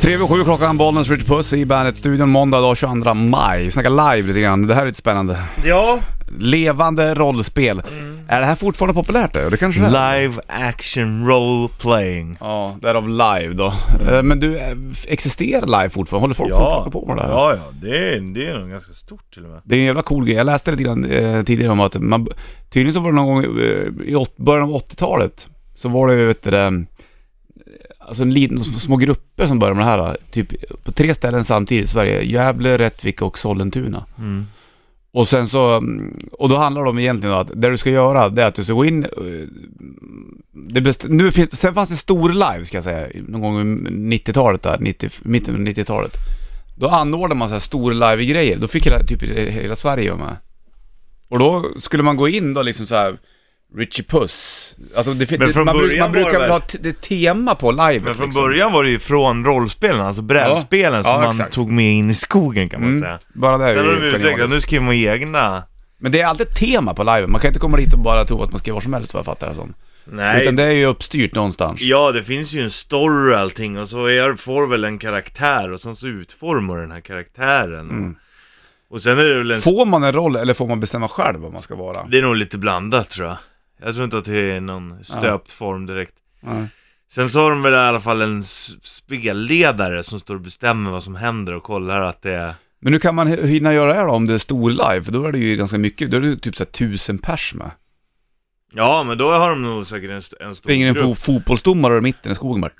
3 över 7 klockan, Bollnäs Rich Puss i Bandet-studion måndag dag 22 maj. Vi snackar live lite grann, det här är lite spännande. Ja, Levande rollspel. Är det här fortfarande populärt? Det, det kanske det är. Mm. live action role playing. Ja, därav live då. Eh, Men du, eh, existerar live fortfarande? Håller folk fortfarande på med det här? Mm. ja, ja, det är, det är nog ganska stort till och med. Det är en jävla cool grej. Jag läste lite grann eh, tidigare om att man, tydligen så var det någon gång eh, i åt, början av 80-talet så var det ju vet du, det, eh, alltså en liten, sm- små grupper som började med det här. eh, Typ på tre ställen samtidigt i Sverige. Gävle, Rättvik och Sollentuna. Mm. Och sen så, mm, och då handlar det om egentligen att det du ska göra det är att du ska gå in, eh, det best, nu finns, sen fanns det stor live ska jag säga, någon gång i 90-talet där, 90, mitten av 90-talet. Då anordnade man så här stor live-grejer, då fick hela, typ hela Sverige vara med. Och då skulle man gå in då liksom så här. Richie Puss. Alltså det, fin- Men det- från man, bru- början man var det brukar väl väl- ha t- det tema på liksom. live. Men från början var det ju från rollspelen, alltså brädspelen Ja, som ja, man exakt. tog med in i skogen kan man Mm, säga. bara det är Sen ju har de utvecklat, genialiskt. nu skriver man egna. Men det är alltid tema på live. Man kan inte komma dit och bara tro att man ska göra vad som helst vad jag fattar det som. Nej, Utan det är ju uppstyrt någonstans. ja det finns ju en story och allting och så är, får väl en karaktär och sen så utformar den här karaktären. Mm. Och sen är det väl en... Får man en roll eller får man bestämma själv vad man ska vara? Det är nog lite blandat tror jag. Jag tror inte att det är någon stöpt form direkt. Nej. Sen så har de väl i alla fall en s- spelledare som står och bestämmer vad som händer och kollar att det är... Men nu kan man h- hinna göra det här då, om det är stor live, för då är det ju ganska mycket, då är det ju typ såhär tusen pers med. Ja, men då har de nog säkert en, st- en stor Springer en grupp. fo fotbollsdomare i mitten i skogen bara.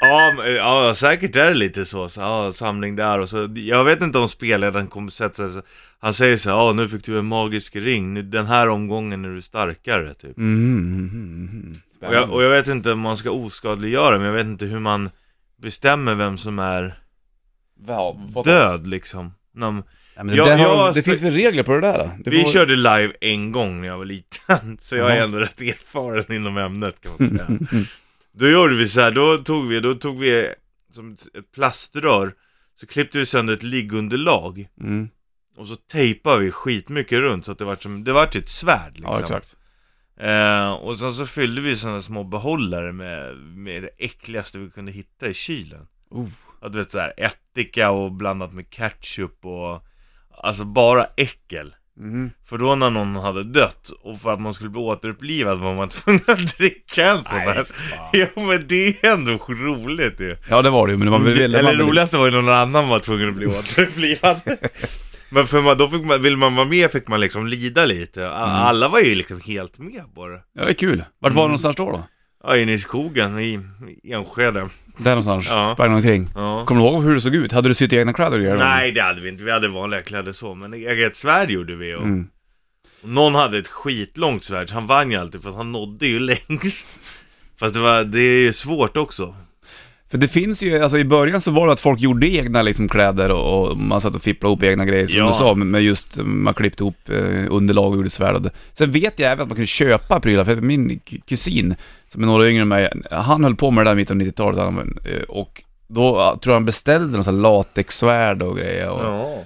Ja, men, ja, säkert är det lite så. så ja, samling där och så. Jag vet inte om spelledaren kommer sätta sig... Han säger så här, ja nu fick du en magisk ring, nu, den här omgången är du starkare typ. Mm, mm, mm, mm. Och jag, och jag vet inte om man ska oskadliggöra, men jag vet inte hur man bestämmer vem som är Ja, vad- död liksom. När- Ja, men det, Jag- där har, jag- det finns väl regler på det där? då? Du Vi får- körde live en gång när jag var liten, så jag Jaha. är ändå rätt erfaren inom ämnet kan man säga. Mm, då gjorde vi så här, då tog vi, då tog vi som ett- ett plaströr, så klippte vi sönder ett liggunderlag Mm. och så tejpade vi skitmycket runt så att det vart som, det vart ju ett svärd liksom. Ja, exakt. Eh, och sen så fyllde vi sådana små behållare med, med det äckligaste vi kunde hitta i kylen. Oh. Att du vet såhär ättika och blandat med ketchup och, alltså bara äckel. Mm. För då när någon hade dött och för att man skulle bli återupplivad var man tvungen att dricka en sån Nej, här. fan. Ja men det är ändå roligt ju. Ja, det var det ju, men man ville... Eller man det ville- roligaste var ju när någon annan var tvungen att bli återupplivad. men för man, då fick man, vill man vara med fick man liksom lida lite. A- Mm. Alla var ju liksom helt med på det. Ja, det är kul. Vart var Mm. det någonstans då då? Ja, inne i skogen i i Enskede. Där någonstans, Ja. sprang omkring. Ja. Kommer du ihåg hur det såg ut? Hade du sytt i egna kläder? eller? Nej, det hade vi inte. Vi hade vanliga kläder så, men eget svärd gjorde vi. Och Mm. och någon hade ett skitlångt svärd, så han vann ju alltid för att han nådde ju längst. Fast det, var, det är ju svårt också. För det finns ju, alltså i början så var det att folk gjorde egna liksom kläder och, och man satt och fipplade ihop egna grejer som Ja. du sa, men men just eh, man klippte ihop eh, underlag och gjorde svärd. och det. Sen vet jag även att man kunde köpa prylar, för min k- kusin, som är några yngre än mig, han höll på med det där i mitten av 90-talet han, eh, och då eh, tror jag han beställde någon sån här latexsvärd och grejer. Och, Ja.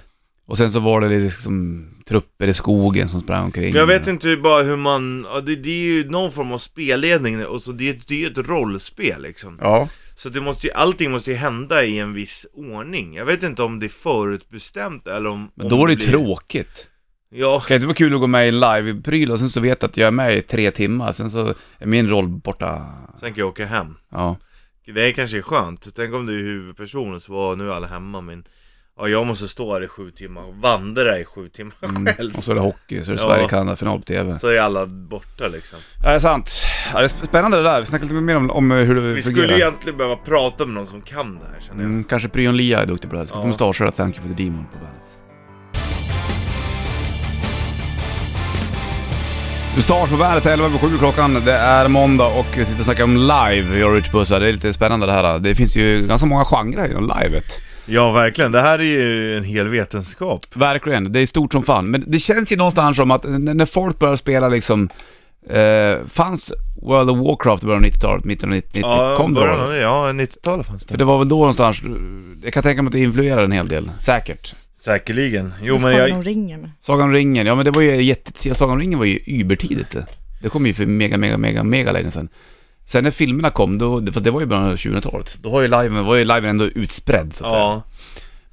och sen så var det liksom trupper i skogen som sprang omkring. Men jag vet inte bara hur man, ja, det, det är ju någon form av spelledning och så det, är- det är ju ett rollspel liksom. Ja. Så det måste ju, allting måste ju hända i en viss ordning. Jag vet inte om det är förutbestämt eller om... Men om då var det ju blir- tråkigt. Ja, Kan inte vara kul att gå med i en live-pryl och sen så vet jag att jag är med i tre timmar, sen så är min roll borta. sen kan jag åka hem. Ja. Det kanske är skönt. Tänk om du är huvudpersonen så var nu är alla hemma men... Ja, jag måste stå här i sju timmar och vandra i sju timmar själv. Mm. Och så är det hockey, så är det Ja. Sverige-Kanada-final på TV. Så är alla borta liksom. Ja, det är sant. Ja, det är sp- spännande det där. Vi snackar lite mer om, om hur det Vi fungerar. skulle egentligen behöva prata med någon som kan det här känner jag. mm, kanske Pryon Lia är duktig på det här. Ska få Ja. mustascher och Thank You For The Demon på bandet. Mustasch på bandet 11 över 7 klockan. Det är måndag och vi sitter och snackar om live, jag och Rich Pussa. Det är lite spännande det här. Det finns ju ganska många genrer inom livet. Ja verkligen, det här är ju en hel vetenskap. Verkligen, det är stort som fan. Men det känns ju någonstans som att n- när folk börjar spela liksom... Eh, fanns World of Warcraft i början av 90-talet, mitten av 90 Kom det början av då? det, ja 90-talet fanns För det. det var väl då någonstans... eh, Jag kan tänka mig att det influerade en hel del, säkert. Säkerligen. Jo Det men sa jag... nog ringen. Sagan om ringen, ja men det var ju jätte... Sagan om ringen var ju übertidigt det. Det kom ju för mega, mega, mega, mega länge sedan. Sen när filmerna kom, då, för det var ju början av 2000-talet, då var ju liven, var ju liven ändå utspridd så att säga. Ja.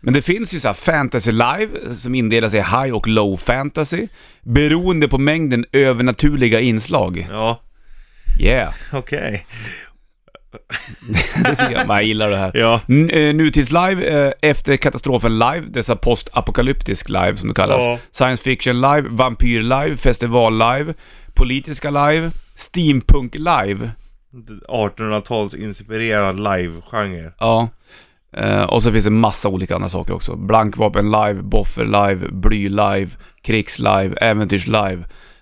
Men det finns ju så här fantasy live som indelas i high och low fantasy beroende på mängden övernaturliga inslag. Ja. Yeah, Okej. det tycker jag. Jag gillar det här. Ja. N- eh, Nutidslive, eh, Efter katastrofen live, dessa postapokalyptisk live som det kallas. Ja. Science fiction live, vampyr live, festival live, politiska live, steampunk live. 1800-tals inspirerad live-genre. Ja. Eh, och så finns det massa olika andra saker också. Blankvapen live, boffer live, bly live, krigs live, äventyrs live,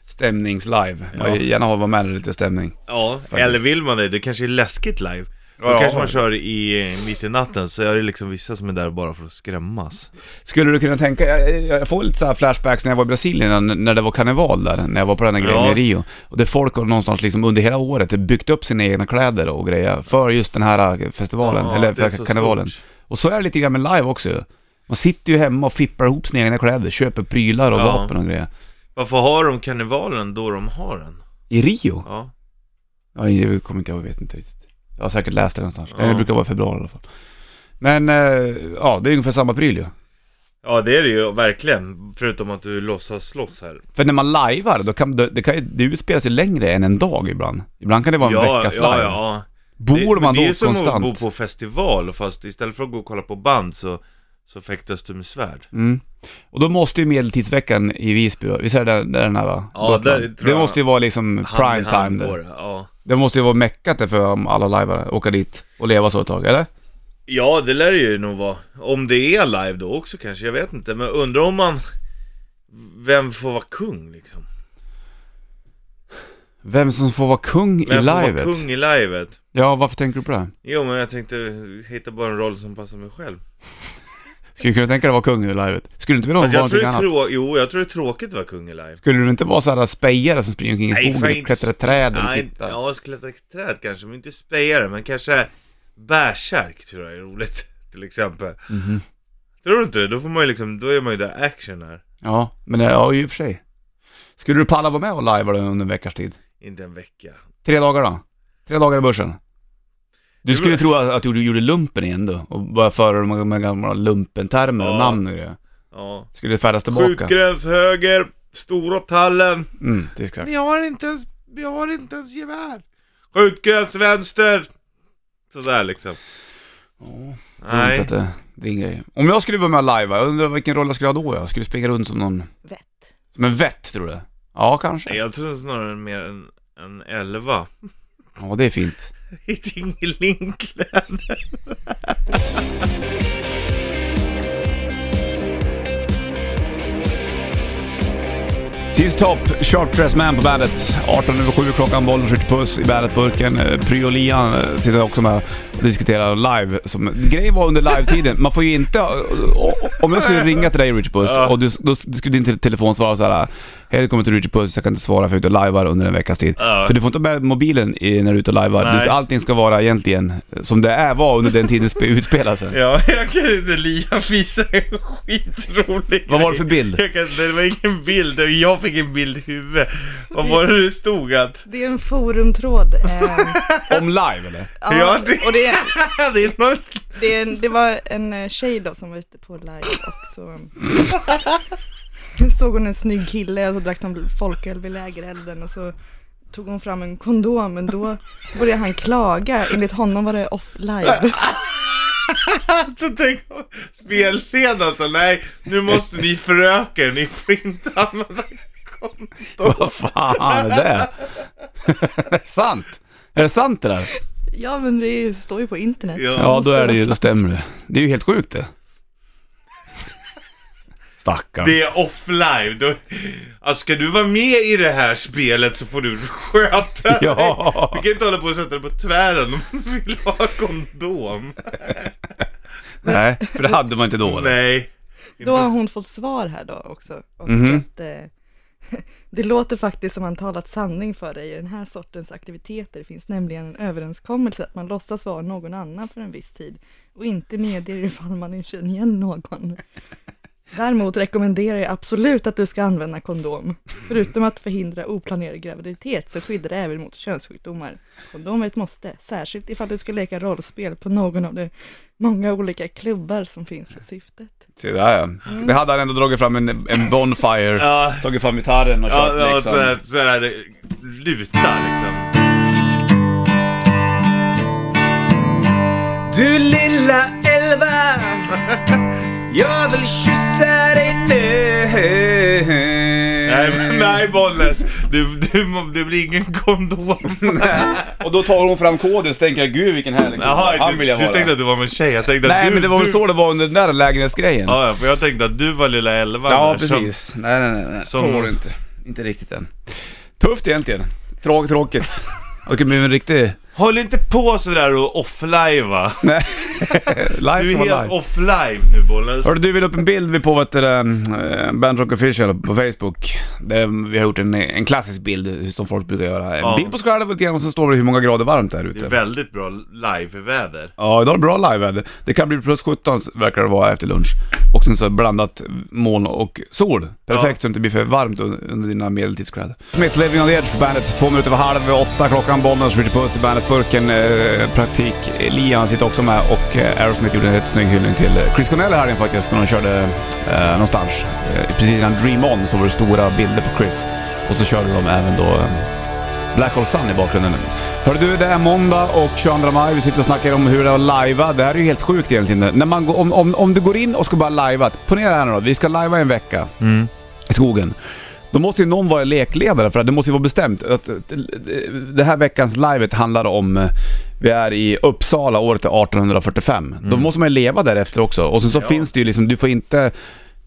stämnings live. Jag vill gärna ha vara med i lite stämning. Ja, eller vill man det? Det kanske är läskigt live. Då Ja. kanske man kör i eh, mitt i natten, så är det liksom vissa som är där bara för att skrämmas. Skulle du kunna tänka, jag, jag- jag får lite så här flashbacks när jag var i Brasilien, när, när det var karneval där, när jag var på den här grejen Ja. i Rio. Och det folk har någonstans liksom under hela året byggt upp sina egna kläder och grejer för just den här eh, festivalen, Ja, eller det är för så karnevalen. stort. Och så är det lite grann med live också ju. Man sitter ju hemma och fippar ihop sina egna kläder, köper prylar och Ja. vapen och grejer. Varför har de karnevalen då de har den? I Rio? Ja. Ja, jag kommer inte ihåg, jag vet inte riktigt. Jag har säkert läst det någonstans. Ja. Det brukar vara i februari i alla fall. Men, eh, ja, det är ungefär samma pryl ju. ja, det är det ju verkligen. Förutom att du låtsas slåss här. För när man lajvar, då kan det, det, kan, ju- det utspelar sig längre än en dag ibland. Ibland kan det vara en veckas ja, live. ja. Bor det, men man det är då ju som att konstant? bo på festival, fast istället för att gå och kolla på band så, så fäktas du med svärd. mm. Och då måste ju medeltidsveckan i Visby, visst är det där, där den här va? Ja, Gotland. där tror det jag- måste ju vara liksom Hand i prime hand time går där. det, Ja. Det måste ju vara meckat där för um, alla lajvare, åka dit och leva så ett tag, eller? Ja, det lär det ju nog vara. Om det är live då också kanske, jag vet inte. Men undrar om man... Vem får vara kung liksom? Vem som får vara kung Vem i får livet? vara kung i livet? Ja, varför tänker du på det? Jo, men jag tänkte hitta bara en roll som passar mig själv. Skulle du kunna tänka dig att vara kung i livet? Skulle du inte vilja Alltså, vara jag tror någonting det är annat? trå- jo, jag tror det är tråkigt att vara kung i live. Skulle du inte vara sådär spejare som springer omkring i Nej, fan, skogen och inte- klättrar i träd och Nej, tittar? ja, klättra i träd kanske, men inte spejare, men kanske bärsärk tror jag är roligt, till exempel. Mhm. Tror du inte det? Då får man ju liksom, då är man ju där action här. Ja, men eh, ja, i och för sig. Skulle du palla vara med och lajva under en veckas tid? Inte en vecka. Tre dagar då? Tre dagar i börsen? Du Det skulle beror- tro att att du gjorde lumpen igen då och började föra de här gamla lumpentermer och Ja. namn och det. Ja. Skulle färdas tillbaka. Skjutgräns höger, stora tallen. Mm, det är exakt. Men jag har inte ens, jag har inte ens gevär. Skjutgräns vänster. Sådär liksom. Nej. Nej. Att det, det är en grej. Om jag skulle vara med och lajva, jag undrar vilken roll jag skulle ha då jag? Skulle springa runt som någon... Vett. Som en vett tror du? Ja, kanske. Nej, Jag tror snarare mer en, en elva. Ja, det är fint. I Tingelingkläder. Sist topp, Sharp Dress Man på bandet. 18 över 7 klockan, bollen skjuter puss i bandetburken. Eh, Pryolian eh, sitter också med och diskuterar live. Som, grejen var under live-tiden, man får ju inte... eh, o- o- Om jag skulle ringa till dig Richard Puss Ja. och du, då skulle din te- telefon svara så här. Hej, det kommer till Richard Puss, jag kan inte svara för jag är ute och lajvar under en veckas tid. Ja. För du får inte ha med mobilen i, när du är ute och lajvar. Nej. Du- Allting ska vara egentligen som det är var under den tiden det spe- utspelar sig. Ja, jag kan inte li. Jag visade en skitrolig Vad var det grej. för bild? Jag kan, det var ingen bild, det var- jag fick en bild i huvudet. Vad var det det stod att? Det är en forumtråd. Eh, Om live eller? Ja, ja, det- och det, är- det är något... det, är en, det var en eh, tjej då som var ute på live och så såg hon en snygg kille och så drack de folköl vid lägerelden och så tog hon fram en kondom men då började han klaga. Enligt honom var det off live. Så tänk om spelledaren sa, nej, nu måste ni föröka er, ni får inte använda konto. Vad fan är det? är det sant? Är det sant det där? Ja men det står ju på internet. Ja. Ja, då är det ju, då stämmer det. Det är ju helt sjukt det. Stackarn. Det är offline. Då, alltså, ska du vara med i det här spelet så får du sköta dig. Ja. Du kan inte hålla på och sätta dig på tvären om du vill ha kondom. Nej, för det hade man inte då. eller? Nej. Då har hon fått svar här då också. Och Mhm. att, eh, det låter faktiskt som han talat sanning för dig i den här sortens aktiviteter. Det finns nämligen en överenskommelse att man låtsas vara någon annan för en viss tid och inte medier ifall man inte känner igen någon. Däremot rekommenderar jag absolut att du ska använda kondom. Förutom att förhindra oplanerad graviditet så skyddar det även mot könssjukdomar. Kondom är ett måste, särskilt ifall du ska leka rollspel på någon av de många olika klubbar som finns för syftet. Se där ja. Det hade han ändå dragit fram en, en bonfire, Ja. tagit fram gitarren och kört Ja, ja liksom. sådär, sådär eh, luta liksom. Du lilla elva, jag vill kyssa dig nu. Nej, men- nej Bollnäs, du, du, må- det blir ingen kondom. och då tar hon fram koden så tänker jag, gud vilken härlig kille, Jaha, han du, vill jag du vara. tänkte att du var med en tjej, jag tänkte att Nej du... men det var du... väl så det var under den där lägenhetsgrejen. Ja, ja, för jag tänkte att du var lilla elvan Ja, där, som- precis. nej, nej, nej, nej. som- Så var det inte. Inte riktigt än. Tufft egentligen. Trå- tråkigt. Det kunde bli en riktig... eh, Håll inte på sådär och offliva. Nej. live Du som är var helt live. offlive nu Bollnäs. Hörru du, vi la upp en bild vid på vad heter det, eh, Bandrock official på Facebook. Där vi har gjort en, en klassisk bild, som folk brukar göra. En Ja. bild på sig själv lite grann och så står det hur många grader varmt det är Det är ute. väldigt bra live-väder. Ja, idag är det bra liveväder. Det kan bli plus 17 verkar det vara efter lunch. Och sen så blandat moln och sol. Perfekt så det inte blir för varmt un- under dina medeltidskläder. Smith Living on the Edge på bandet. Två minuter över halv åtta klockan. Bollnäs, Richard Puss i bandet-burken. Eh, praktik Lian sitter också med och eh, Aerosmith gjorde en helt snygg hyllning till eh, Chris Cornell här inne faktiskt när de körde eh, någonstans. Eh, precis innan Dream On så var det stora bilder på Chris. Och så körde de även då eh, Black Hole Sun i bakgrunden. Hör du, det är måndag och 22 maj. Vi sitter och snackar om hur det är att lajva. Det här är ju helt sjukt egentligen. När man går, om, om, om du går in och ska bara lajva. Ponera här nu då, vi ska lajva en vecka Mm. i skogen. Då måste ju någon vara lekledare för att det måste ju vara bestämt att eh, det här veckans livet handlar om eh, vi är i Uppsala, året är 1845. Då måste man ju leva därefter också. Och sen så Mm. Ja. finns det ju liksom, du får inte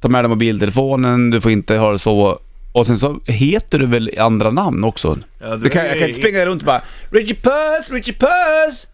ta med dig mobiltelefonen, du får inte ha det så. Och sen så heter du väl andra namn också? Ja, det Du kan, var jag ju- kan inte springa runt och bara Richie Puss, Richie Puss!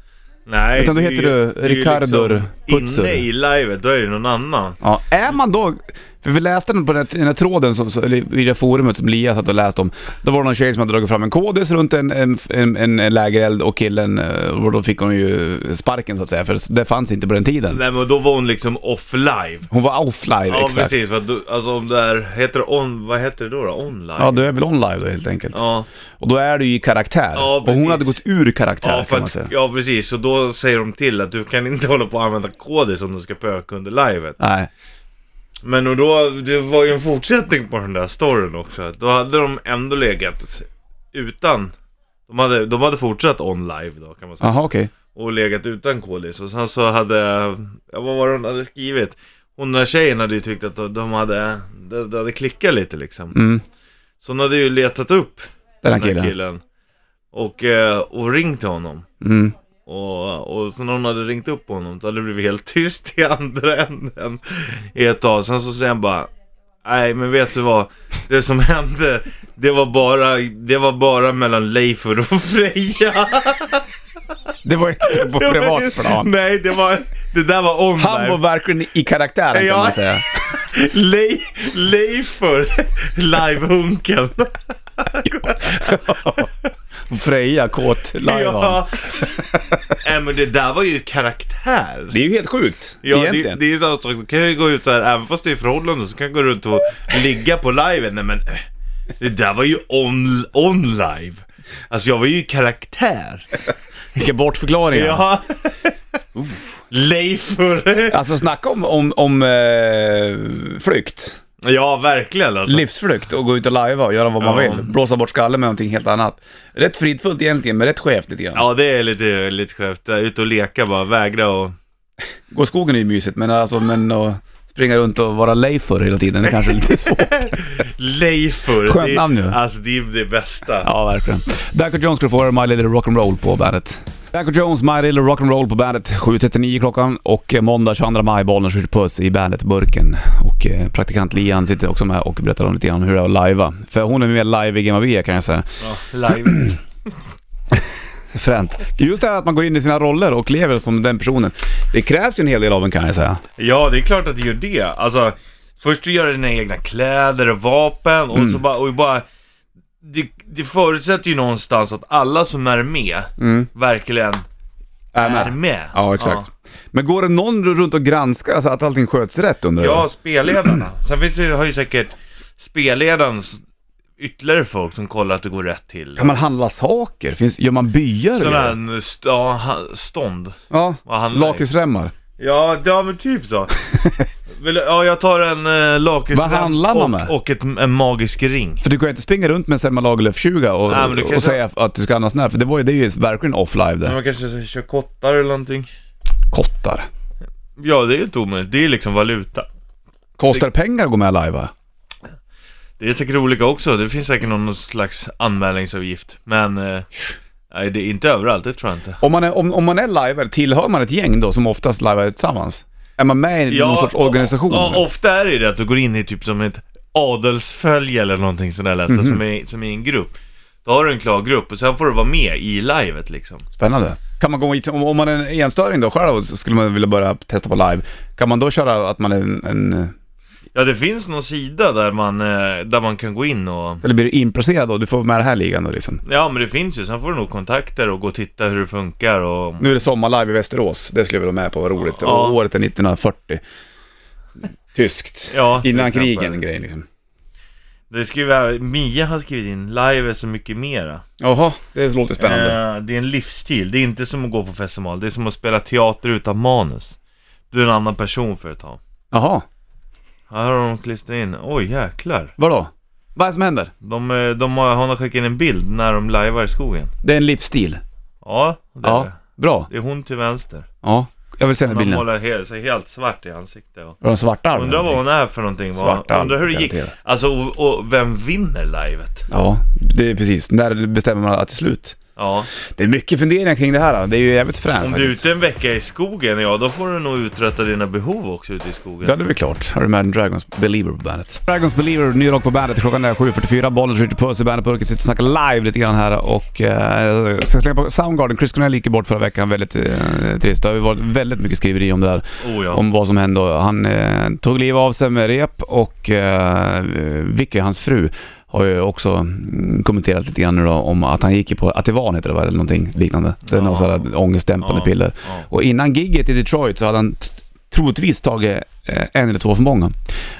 Nej, Utan då det är heter ju- du det är ju Ricardo Putzur. Inne i livet, då är det någon annan. Ja, är man då... För vi läste den på den här, den här tråden, som, så, eller i det forumet som Lia satt och läste om. Då var det någon tjej som hade dragit fram en kodis runt en, en, en, en lägereld och killen, eh, och då fick hon ju sparken så att säga, för det fanns inte på den tiden. Nej men då var hon liksom off-live. Hon var offline, Ja exakt. precis, för att du, alltså om det är, heter det on, vad heter det då då? Online? Ja, du är väl online då helt enkelt. ja. Och då är du ju i karaktär. Ja, och hon precis. hade gått ur karaktär Ja, för kan man att, säga. ja precis, så då säger de till att du kan inte hålla på att använda kodis om du ska pöka under livet. Nej. Men och då, det var ju en fortsättning på den där storyn också. Då hade de ändå legat utan, de hade, de hade fortsatt on live då kan man säga. Jaha, okej. Och legat utan kodis. Och sen så hade, ja, vad var det hon hade skrivit? Hon den där tjejen hade ju tyckt att de- de hade, det det hade klickat lite liksom. Mm. Så hon hade ju letat upp Den här den här killen. killen. Och, eh, och ringt till honom. Mm. Och, och så när hon hade ringt upp honom så hade det blivit helt tyst i andra änden i ett tag. Sen så säger han bara Nej men vet du vad? Det som hände det var bara, det var bara mellan Leifer och Freja. Det var inte på privat plan. Nej det var, det där var online. Han var verkligen i karaktären Ja. kan man säga. Le, Leifer, livehunken. Freja, kåt, lajvan. Ja. Nej men det där var ju karaktär. Det är ju helt sjukt, Ja, det, egentligen. det är ju samma sak. Du kan ju gå ut så här, även fast det är förhållande så kan jag gå runt och ligga på liven. Nej men, eh, det där var ju on, on live. Alltså jag var ju karaktär. Vilka bortförklaringar. Ja. Leifur. Alltså snacka om, om, om eh, flykt. Ja, verkligen alltså. Livsflykt och gå ut och lajva och göra vad man Ja. vill. Blåsa bort skallen med någonting helt annat. Rätt fridfullt egentligen, men rätt skevt lite grann. Ja, det är lite, lite skevt. Där, Ut och leka bara, vägra och... Gå i skogen är ju mysigt, men alltså men att springa runt och vara lejför hela tiden, det kanske är lite svårt. Leifur. Skönt Det är- namn ju. Alltså det är det bästa. Ja, verkligen. Danko Jones skulle få höra My Little Rock'n'Roll på bandet. Danko Jones, My Little Rock'n'Roll på bandet. 7.39 klockan och eh, måndag 22 maj, bollen skjuter puss i bandet-burken. Och eh, praktikant Lian sitter också med och berättar om lite grann hur det är att lajva. För hon är mer liveig än vad vi är kan jag säga. Ja, live. Fränt. Just det här att man går in i sina roller och lever som den personen. Det krävs ju en hel del av en kan jag säga. Ja, det är klart att det gör det. Alltså, först du gör dina egna kläder och vapen och så Mm. bara, och bara det, det förutsätter ju någonstans att alla som är med verkligen Mm. Är är med. med. Ja, exakt. Men går det någon runt och granskar alltså att allting sköts rätt undrar Ja, spelledarna. Sen finns det, har ju säkert spelledarens ytterligare folk som kollar att det går rätt till. jag? Kan man handla saker? Finns, gör man byar? eller? Sådana här st- ja, ha- stånd. Ja, Vad handlar det? lakritsremmar. Ja, ja men typ så. Vill, ja, jag tar en eh, lakritsrem Vad handlar man och, med? och ett, en magisk ring. För du kan ju inte springa runt med en Selma Lagerlöf-tjuga och, Nej, men du och kanske- säga att du ska handla sån här, för det, var ju, det är ju verkligen off-live det. Man kanske så- kör kottar eller någonting. Kottar. Ja, det är ju inte omöjligt. Det är liksom valuta. Kostar pengar att gå med live va? Det är säkert olika också. Det finns säkert någon slags anmälningsavgift. Men, eh, nej, det är inte överallt, det tror jag inte. Om man är, om, om man är live, tillhör man ett gäng då som oftast livear tillsammans? Är man med i någon sorts organisation? Ja, ofta är det ju det att du går in i typ som ett adelsfölje eller någonting sådär läser, Mhm. som, är, som är en grupp. Då har du en klar grupp och sen får du vara med i livet liksom. Spännande. Kan man gå hit, om, om man är en enstöring då själv och så skulle man vilja börja testa på live, kan man då köra att man är en, en Ja, det finns någon sida där man, eh, där man kan gå in och... eller blir du inplacerad då? Du får vara med i den här ligan då liksom. Ja, men det finns ju. Sen får du nog kontakter och gå och titta hur det funkar och... Nu är det sommarlive i Västerås, det skulle jag vilja vara med på, vad roligt. Ja. Och året är 1940. Tyskt. Ja, till Innan exempel. krigen grejen liksom. Det skriver, Mia har skrivit in, live är så mycket mera. Jaha, det låter spännande. Eh, det är en livsstil, det är inte som att gå på festival, det är som att spela teater utan manus. Du är en annan person för ett tag. Jaha, Här har de klistrat in, oj jäklar. vadå? Vad är det som händer? De, eh, de har, hon har skickat in en bild när de lajvar i skogen. Det är en livsstil. Ja, det är Ja, det. bra. Det är hon till vänster. Ja, jag vill se den Hon har bilden. målat he- sig helt svart i ansiktet. Och... Var de svarta armen? Undrar vad hon är för någonting. vad- Svarta Undrar hur det gick. garanterat. Alltså, och, och vem vinner livet? Ja, det är precis. När bestämmer man att det är slut? Ja, Det är mycket funderingar kring det här. då. Det är ju jävligt fränt om du är faktiskt. ute en vecka i skogen, ja då får du nog uträtta dina behov också ute i skogen. Ja, det är väl klart. Har du med en Dragons Believer på bandet? Dragons Believer, ny rock på bandet. Klockan är 7.44. Bollen skjuter på sig. Bandet sitter och snackar live lite grann här och eh, ska slänga på Soundgarden. Chris Cornell gick ju bort förra veckan. Väldigt eh, trist. Det har ju varit väldigt mycket skriveri om det där. Oh, ja. om vad som hände. Han eh, tog liv av sig med rep och eh, Vicky, hans fru, har ju också mm, kommenterat lite grann nu då om att han gick ju på Ativan heter det va, eller någonting liknande. Det är Ja. någon sån här ångestdämpande Ja. piller. Ja. Och innan gigget i Detroit så hade han t- troligtvis tagit eh, en eller två för många.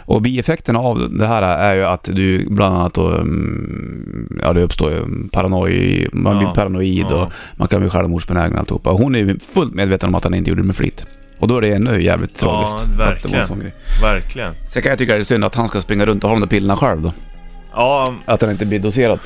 Och bieffekterna av det här är ju att du bland annat då, mm, ja det uppstår ju paranoid, man blir Ja. paranoid Ja. och man kan bli självmordsbenägen och alltihopa. Och Hon är ju fullt medveten om att han inte gjorde det med flit. Och då är det ännu jävligt tragiskt. att det var en verkligen. sån grej. Verkligen. Sen kan jag tycka det är synd att han ska springa runt och ha de där pillerna själv då. Ja, Att han inte blir doserad.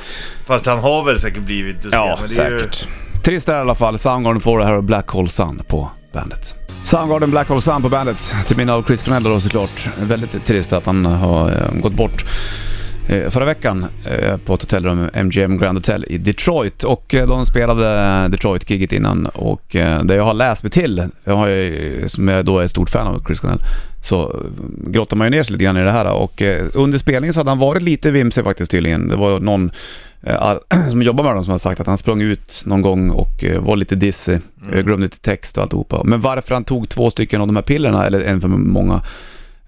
fast han har väl säkert blivit doserad, Ja, men det är ju- säkert. Trist är det i alla fall. Soundgarden får det här och Black Hole Sun på bandet. Soundgarden Black Hole Sun på bandet. Till minne av Chris Cornell då såklart. Väldigt trist att han har eh, gått bort. eh, Förra veckan eh, på ett hotellrum, MGM Grand Hotel i Detroit och eh, de spelade Detroit-giget innan och eh, det jag har läst mig till, jag har ju, som jag då är ett stort fan av Chris Cornell, så eh, grottar man ju ner sig lite grann i det här och eh, under spelningen så hade han varit lite vimsig faktiskt tydligen. Det var någon eh, ar- som jobbar med honom som har sagt att han sprang ut någon gång och eh, var lite dissig, mm. glömde lite text och alltihopa. Men varför han tog två stycken av de här pillerna, eller en för många,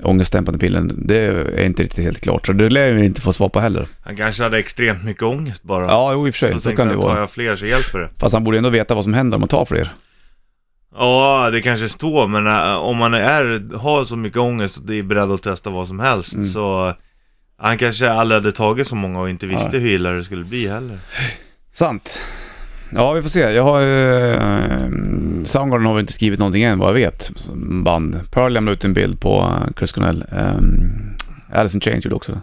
ångestdämpande pillen, det är inte riktigt helt klart. Så det lär jag ju inte få svar på heller. Han kanske hade extremt mycket ångest bara. Ja, jo, i och för sig. så, Så, kan det ju Tar vara. jag fler så hjälper det. Fast han borde ändå veta vad som händer om man tar fler. Ja, det kanske står, men eh, om man är, har så mycket ångest och är beredd att testa vad som helst Mm. så eh, han kanske aldrig hade tagit så många och inte visste Nej. hur illa det skulle bli heller. Sant. Ja, vi får se. Jag har eh, Soundgarden har väl inte skrivit någonting än vad jag vet. som Band. Pearl lämnade ut en bild på eh, Chris Cornell. Eh, Alice in Chains gjorde också det.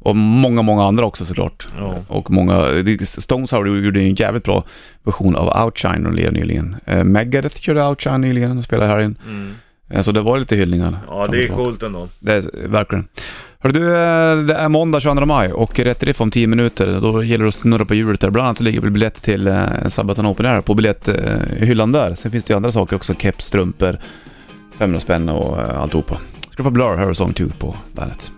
Och många, många andra också såklart. Ja. Och många, det- Stones har gjorde ju en jävligt bra version av Outshine de led nyligen. Eh, Megadeth körde Outshine nyligen och spelade här in. Mm. Eh, så det var lite hyllningar. Ja, fram det och är tillbaka. coolt ändå. Det är, verkligen. Hör du, eh, det är måndag 22 maj och rätt riff om 10 minuter. Då gäller det att snurra på hjulet där. Bland annat så ligger väl biljetter till eh, Sabaton Open Air på biljetthyllan där. Sen finns det ju andra saker också. Keps, strumpor, 500 spänn och eh, alltihopa. Ska du få Blur, Her Song 2 på bandet.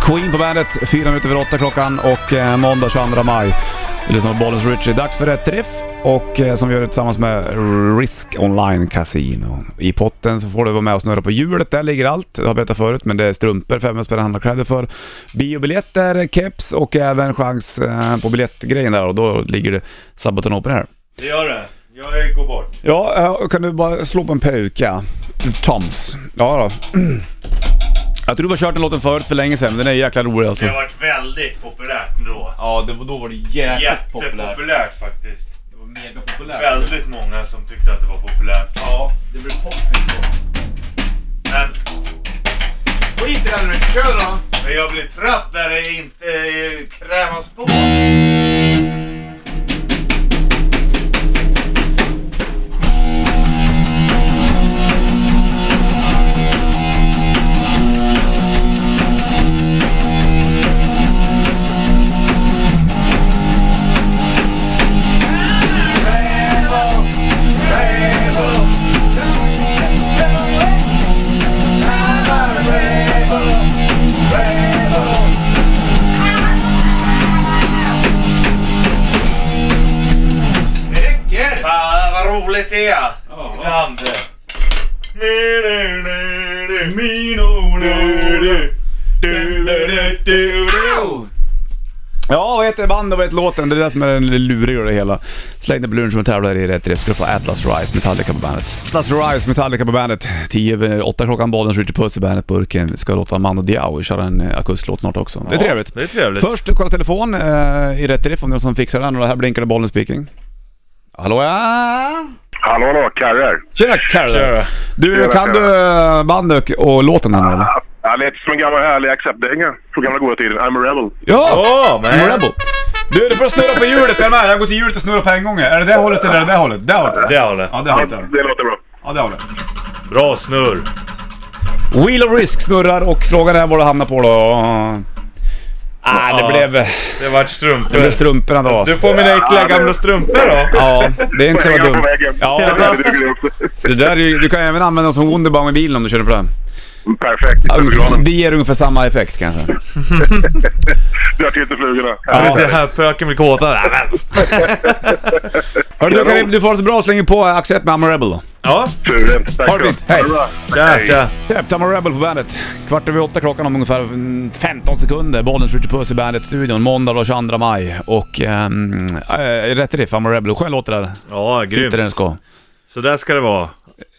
Queen på bandet, fyra minuter över åtta klockan och eh, måndag 22 maj. Du lyssnar på Bollens Richie. Dags för rätt riff och eh, som vi gör det tillsammans med Risk Online Casino. I potten så får du vara med och snurra på hjulet. Där ligger allt. Jag har berättat förut men det är strumpor, 500 spänn handlarkläder för. Biobiljetter, keps och även chans eh, på biljettgrejen där och då ligger det Sabaton Open här. Det gör det. Jag går bort. Ja, eh, kan du bara slå på en peruka? Toms. Ja då. Jag tror vi har kört den låten förut för länge sedan, men den är jäkla rolig alltså. Det har varit väldigt populärt då. Ja, det, då var det jäkligt Jättepopulärt faktiskt. Det var mega populärt. Väldigt många som tyckte att det var populärt. Ja, det blev poppis Men, Skit i den nu, kör då! men jag blir trött när det inte eh, krämas på. Det räcker! Fan vad roligt det är. Ja. Ibland. Ja, vad heter bandet och vad heter låten? Det är det som är den lite luriga och det hela. Släng dig på luren som tävlar i rätt riff. Ska du få Atlas Rise Metallica på bandet. Atlas Rise Metallica på bandet. 10 över 8 klockan baden skjuter puss i bandet-burken. Ska låta Mando Diao köra en eh, akustlåt snart också. Det är trevligt. Det är trevligt. Först, kolla telefon eh, i rätt riff om det är någon som fixar den. Och det här blinkade bollen speaking. Hallå ja! Hallå, hallå, Karre här. Tjena Kalle! Tjena. Du, Tjena, kan du eh, bandet och- och låten här nu eller? Ja, Jag lät som en gammal härlig acceptdänga från gamla goda tiden. I'm a rebel. Ja! Åh, Oh, men. Rebel. Du, du får snurra på hjulet, är du med? Jag går till hjulet och snurrar på en gång. Är det det hållet eller är det det hållet? Det hållet? Det håller. Ja, det hållet är det. Det låter bra. Ja, det hållet. Bra snurr. Wheel of Risk snurrar och frågan är vad du hamnar på då. Ah, det Ja. blev, Det vart det blev strumpor. strumporna då. Du får mina äckliga gamla strumpor då. Ja, det är inte så På vägen, dumt. på vägen. Ja, Det det, duger också. det där är ju, du kan ju även använda dem som Wunderbaum i bilen om du kör på den. Perfekt. Ja, ungefär- Supergranen. Det ger ungefär samma effekt kanske. Drar till till flugorna. Ja. Det här pöken blir kåta. Nej, men. Hörru, du, kan, ju- du får ha det så bra så länge på Accept med I'm a Rebel då. Ja, Suveränt. Tack Ha det så. fint. Hej. Ha det bra. tja tja. Yep, Tamar Rebel på bandet. Kvart över åtta klockan om ungefär mm, 15 sekunder. Bollen skjuter puss i bandet-studion. Måndag då 22 maj. Och ehm, äh, rätt riff, Tamar Rebel. Skön låt det där. Ja, Sitter den grymt. ska. Så där ska det vara.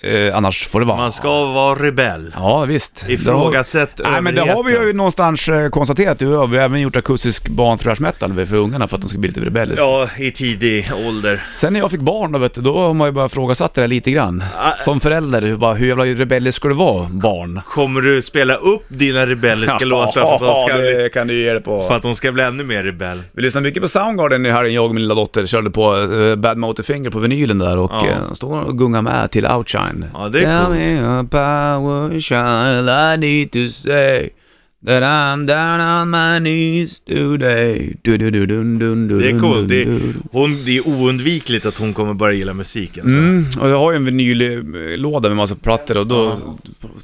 Eh, annars får det vara. Man ska vara rebell. Ja, visst. Ifrågasätt det har... Nej, men det har vi ju någonstans eh, konstaterat. Du har vi har även gjort akustisk barnthrash metal för ungarna för att de ska bli lite rebelliska. Ja, i tidig ålder. Sen när jag fick barn då, vet du, då har man ju bara ifrågasatt det där lite grann. Ah. Som förälder, hur, bara, hur jävla rebellisk ska du vara, barn? Kommer du spela upp dina rebelliska låtar för att, de ska bli, det kan du ge det på. för att de ska bli ännu mer rebell? Vi lyssnade mycket på Soundgarden i helgen, jag och min lilla dotter körde på eh, Bad Motor Finger på vinylen där och Ja. eh, stod och gungade med till Outshine. Ja, det är Tell coolt. me a power child I need to say that I'm down on my knees today. Du, du, du, dun, dun, dun, Det är dun, coolt. Det är, dun, dun. hon, det är oundvikligt att hon kommer börja gilla musik alltså. Mm, och jag har ju en vinyllåda med massa plattor och då... så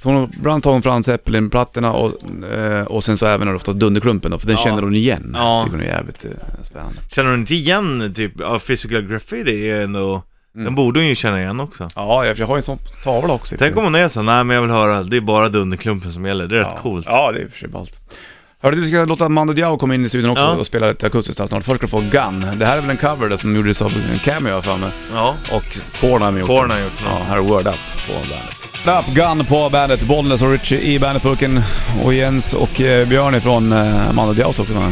Hon, ibland tar hon fram Zeppelin-plattorna och, eh, och sen så även oftast Dunderklumpen då, för den Ja. känner hon igen. Ja. Tycker hon är jävligt eh, spännande. Känner hon inte igen typ, ja, physical graffiti är ändå... Den borde hon ju känna igen också. Ja, jag jag har ju en sån tavla också. Tänk om hon är så, nej men jag vill höra, det är bara dunderklumpen som gäller, det är ja. rätt coolt. Ja, det är i och för sig ballt. Hörru du, vi ska låta Mando Diao komma in i studion också Ja. och spela lite akustiskt här snart. Först ska du få Gun. Det här är väl en cover där som gjordes av en cameo har jag för mig. Ja. Och Korn har gjort. Korn har gjort den. Ja, här är Word Up på bandet. Word Up, Gun på bandet. Bollnäs och Richie i bandetburken. Och Jens och eh, Björn ifrån eh, Mando Diao också med.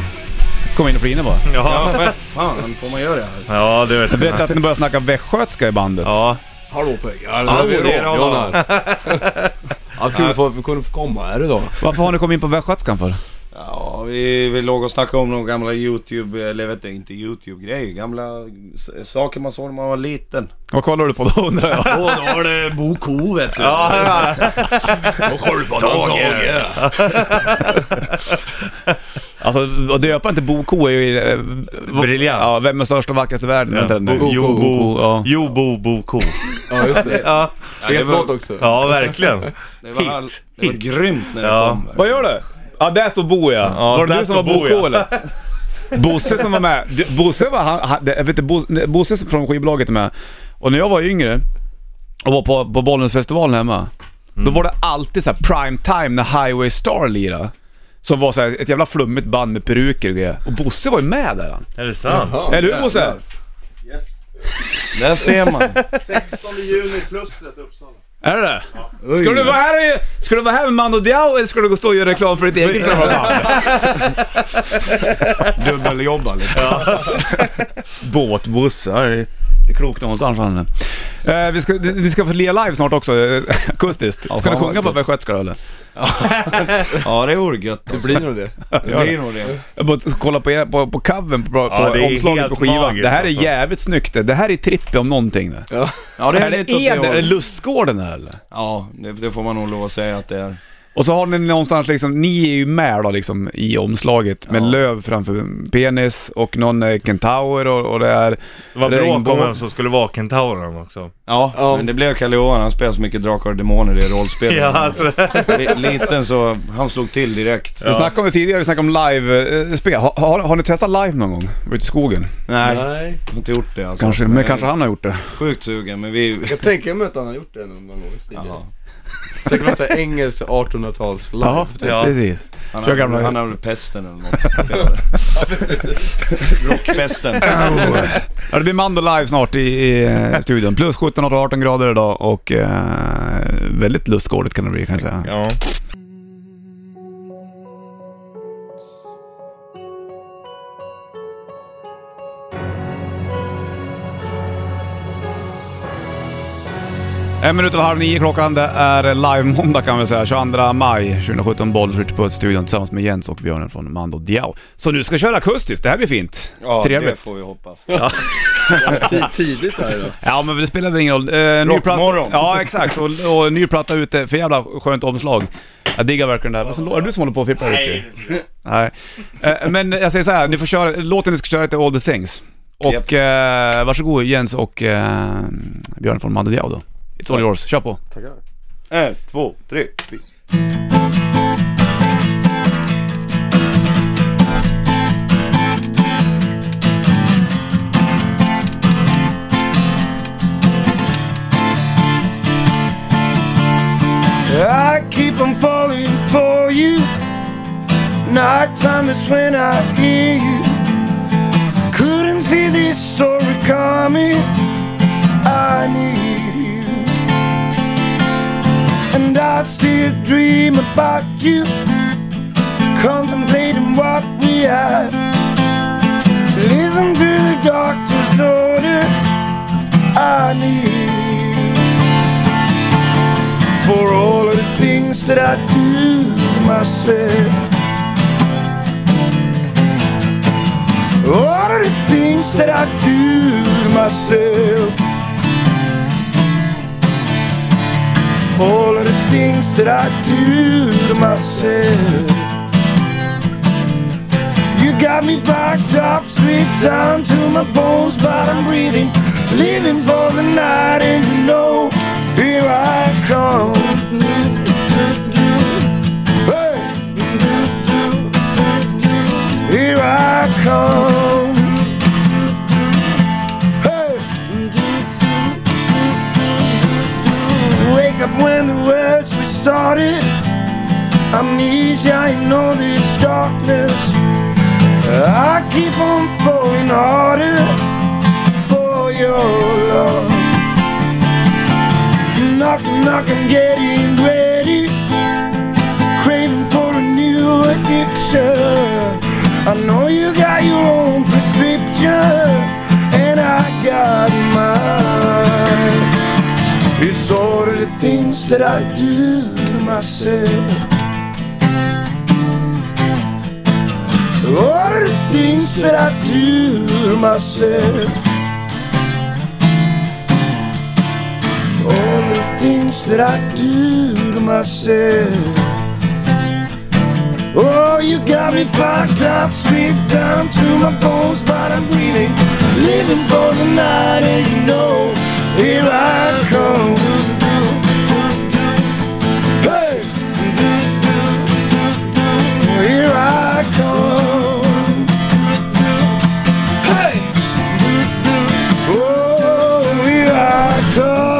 Kom in och flina bara. Ja, Vad fan får man göra det här? ja det vet Jag jag. vet att ni börjar snacka västgötska i bandet. Mm. Ja, Hallå pojkar, Hallå, nu är vi i det är radion Ronald. här. Ja, kul för att vi kunde få komma här idag. Varför har ni kommit in på västgötskan för? Ja, vi, vi låg och snackade om några gamla YouTube, eller vet du, inte YouTube-grejer. Gamla s- saker man såg när man var liten. Vad kollar du på då undrar jag? Åh, då var det Bo Ko vet du. ja, ja. och Sköldpaddan-Tage. Alltså att döpa inte Boko är ju... eh, v- Briljant. Ja, vem är störst och vackrast i världen? Vänta nu. Bo- Jo, bo, ja. jo, bo, bo, ko. Ja, just det. Ja, Fet låt också. ja verkligen. Det var, all, det var grymt när det Ja. kom. Vad gör du? Ja, där står Bo ja. Ja, var det där du som var står Bo, Boko ja. eller? Bosse som var med. Du- Bosse var han, han det- jag vet inte, Bo- nej, Bosse från skivbolaget är med. Och när jag var yngre och var på, på Bollnäsfestivalen hemma. Då var det alltid så här prime time när Highway Star lirade. Som var så här ett jävla flummigt band med peruker och grejer. Och Bosse var ju med där han. Är det sant? Ja, Eller hur Bosse? jävlar. Yes. Där ser man. 16 juni, Flustret, Uppsala. Är det det? Ska du vara här, i- ska du vara här med Mando Diao eller ska du gå och stå och göra reklam för ditt eget äh, kameraman? Dubbeljobba lite. Båtbussar. Det är klokt någonstans Anne. Eh, vi ska, ni ni ska få le live snart också, eh, akustiskt. Ska fan, du vad sjunga på kul. västgötska eller? Ja det vore gött. Det Blir nog det. det blir nog det. Jag bara kolla på, er, på, på covern på, Ja, på det är omslaget helt på skivan. magiskt, det här är alltså. jävligt snyggt det. Det här är trippy om någonting det. Ja. Ja det Är är, det lite åt Eder, är det hållet. lustgården här eller? Ja det, det får man nog lov att säga att det är. Och så har ni någonstans liksom, ni är ju med då liksom i omslaget med Ja. löv framför penis och någon eh, kentaur och, och det är... Det var bråk Regnbåge. om vem som skulle vara kentauren också. Ja, Ja. men det blev Kalle Johan. Han spelar så mycket drakar och demoner i rollspel. Ja, alltså. Li- Liten så, han slog till direkt. Vi snackade om det tidigare, vi snackade om live-spel. Har, har, har ni testat live någon gång? Ute i skogen? Nej, jag Nej. har inte gjort det alltså. Kanske, men Jag är kanske han har gjort det. Sjukt sugen men vi... Jag tänker mig att han har gjort det någon gång tidigare. Ja. Säkert något så här engelskt 1800-tals live. Jaha, Ja. typ. precis. Han, Kör har, gamla- han har väl pesten eller något. Rockpesten. Ja, det blir Mando live snart i, i eh, studion. Plus 17-18 grader idag och eh, väldigt lustgårdigt kan det bli kan jag säga. Ja. En minut över halv nio klockan, det är live-måndag kan vi säga. 22 maj 2017, Bollswitch på studion tillsammans med Jens och Björnen från Mando Diao. Så nu ska köra akustiskt, det här blir fint. Ja, det Trevligt. får vi hoppas. Ti- Tidigt här idag. Ja men det spelar väl ingen roll. Eh, ny platta, Rockmorgon. ja exakt, och, och ny platta ute. För jävla skönt omslag. Jag diggar verkligen det här. Vad som- Är det du som håller på och fipplar Richie? Nej. Eh, men jag säger så här, ni får köra, låten ni ska köra heter All the things. Och eh, varsågod Jens och eh, Björn från Mando Diao då. It's all yours, kör på. Tackar. En, två, tre, fyra. I keep on falling for you. Night time is when I hear you. Couldn't see this story coming. I need you. And I still dream about you. Contemplating what we are. Listen to the doctor's order. I need you for all of the things that I do myself. All of the things that I do to myself. All of the things that I do to myself. You got me fucked up, stripped down to my bones, but I'm breathing, living for the night, and you know, here I come. Hey. Here I come. Hey. Wake up when the words we started. Amnesia, I know this darkness. I keep on falling harder for your love. Knock, knock, I'm getting ready. Craving for a new addiction. I know you got your own prescription, and I got mine. It's all of the things that I do to myself. All of the things that I do to myself. All of the things that I do to myself. Oh, you got me fucked up, stripped down to my bones, but I'm breathing, living for the night, and you know, here I come. Hey! Here I come. Hey! Oh, here I come.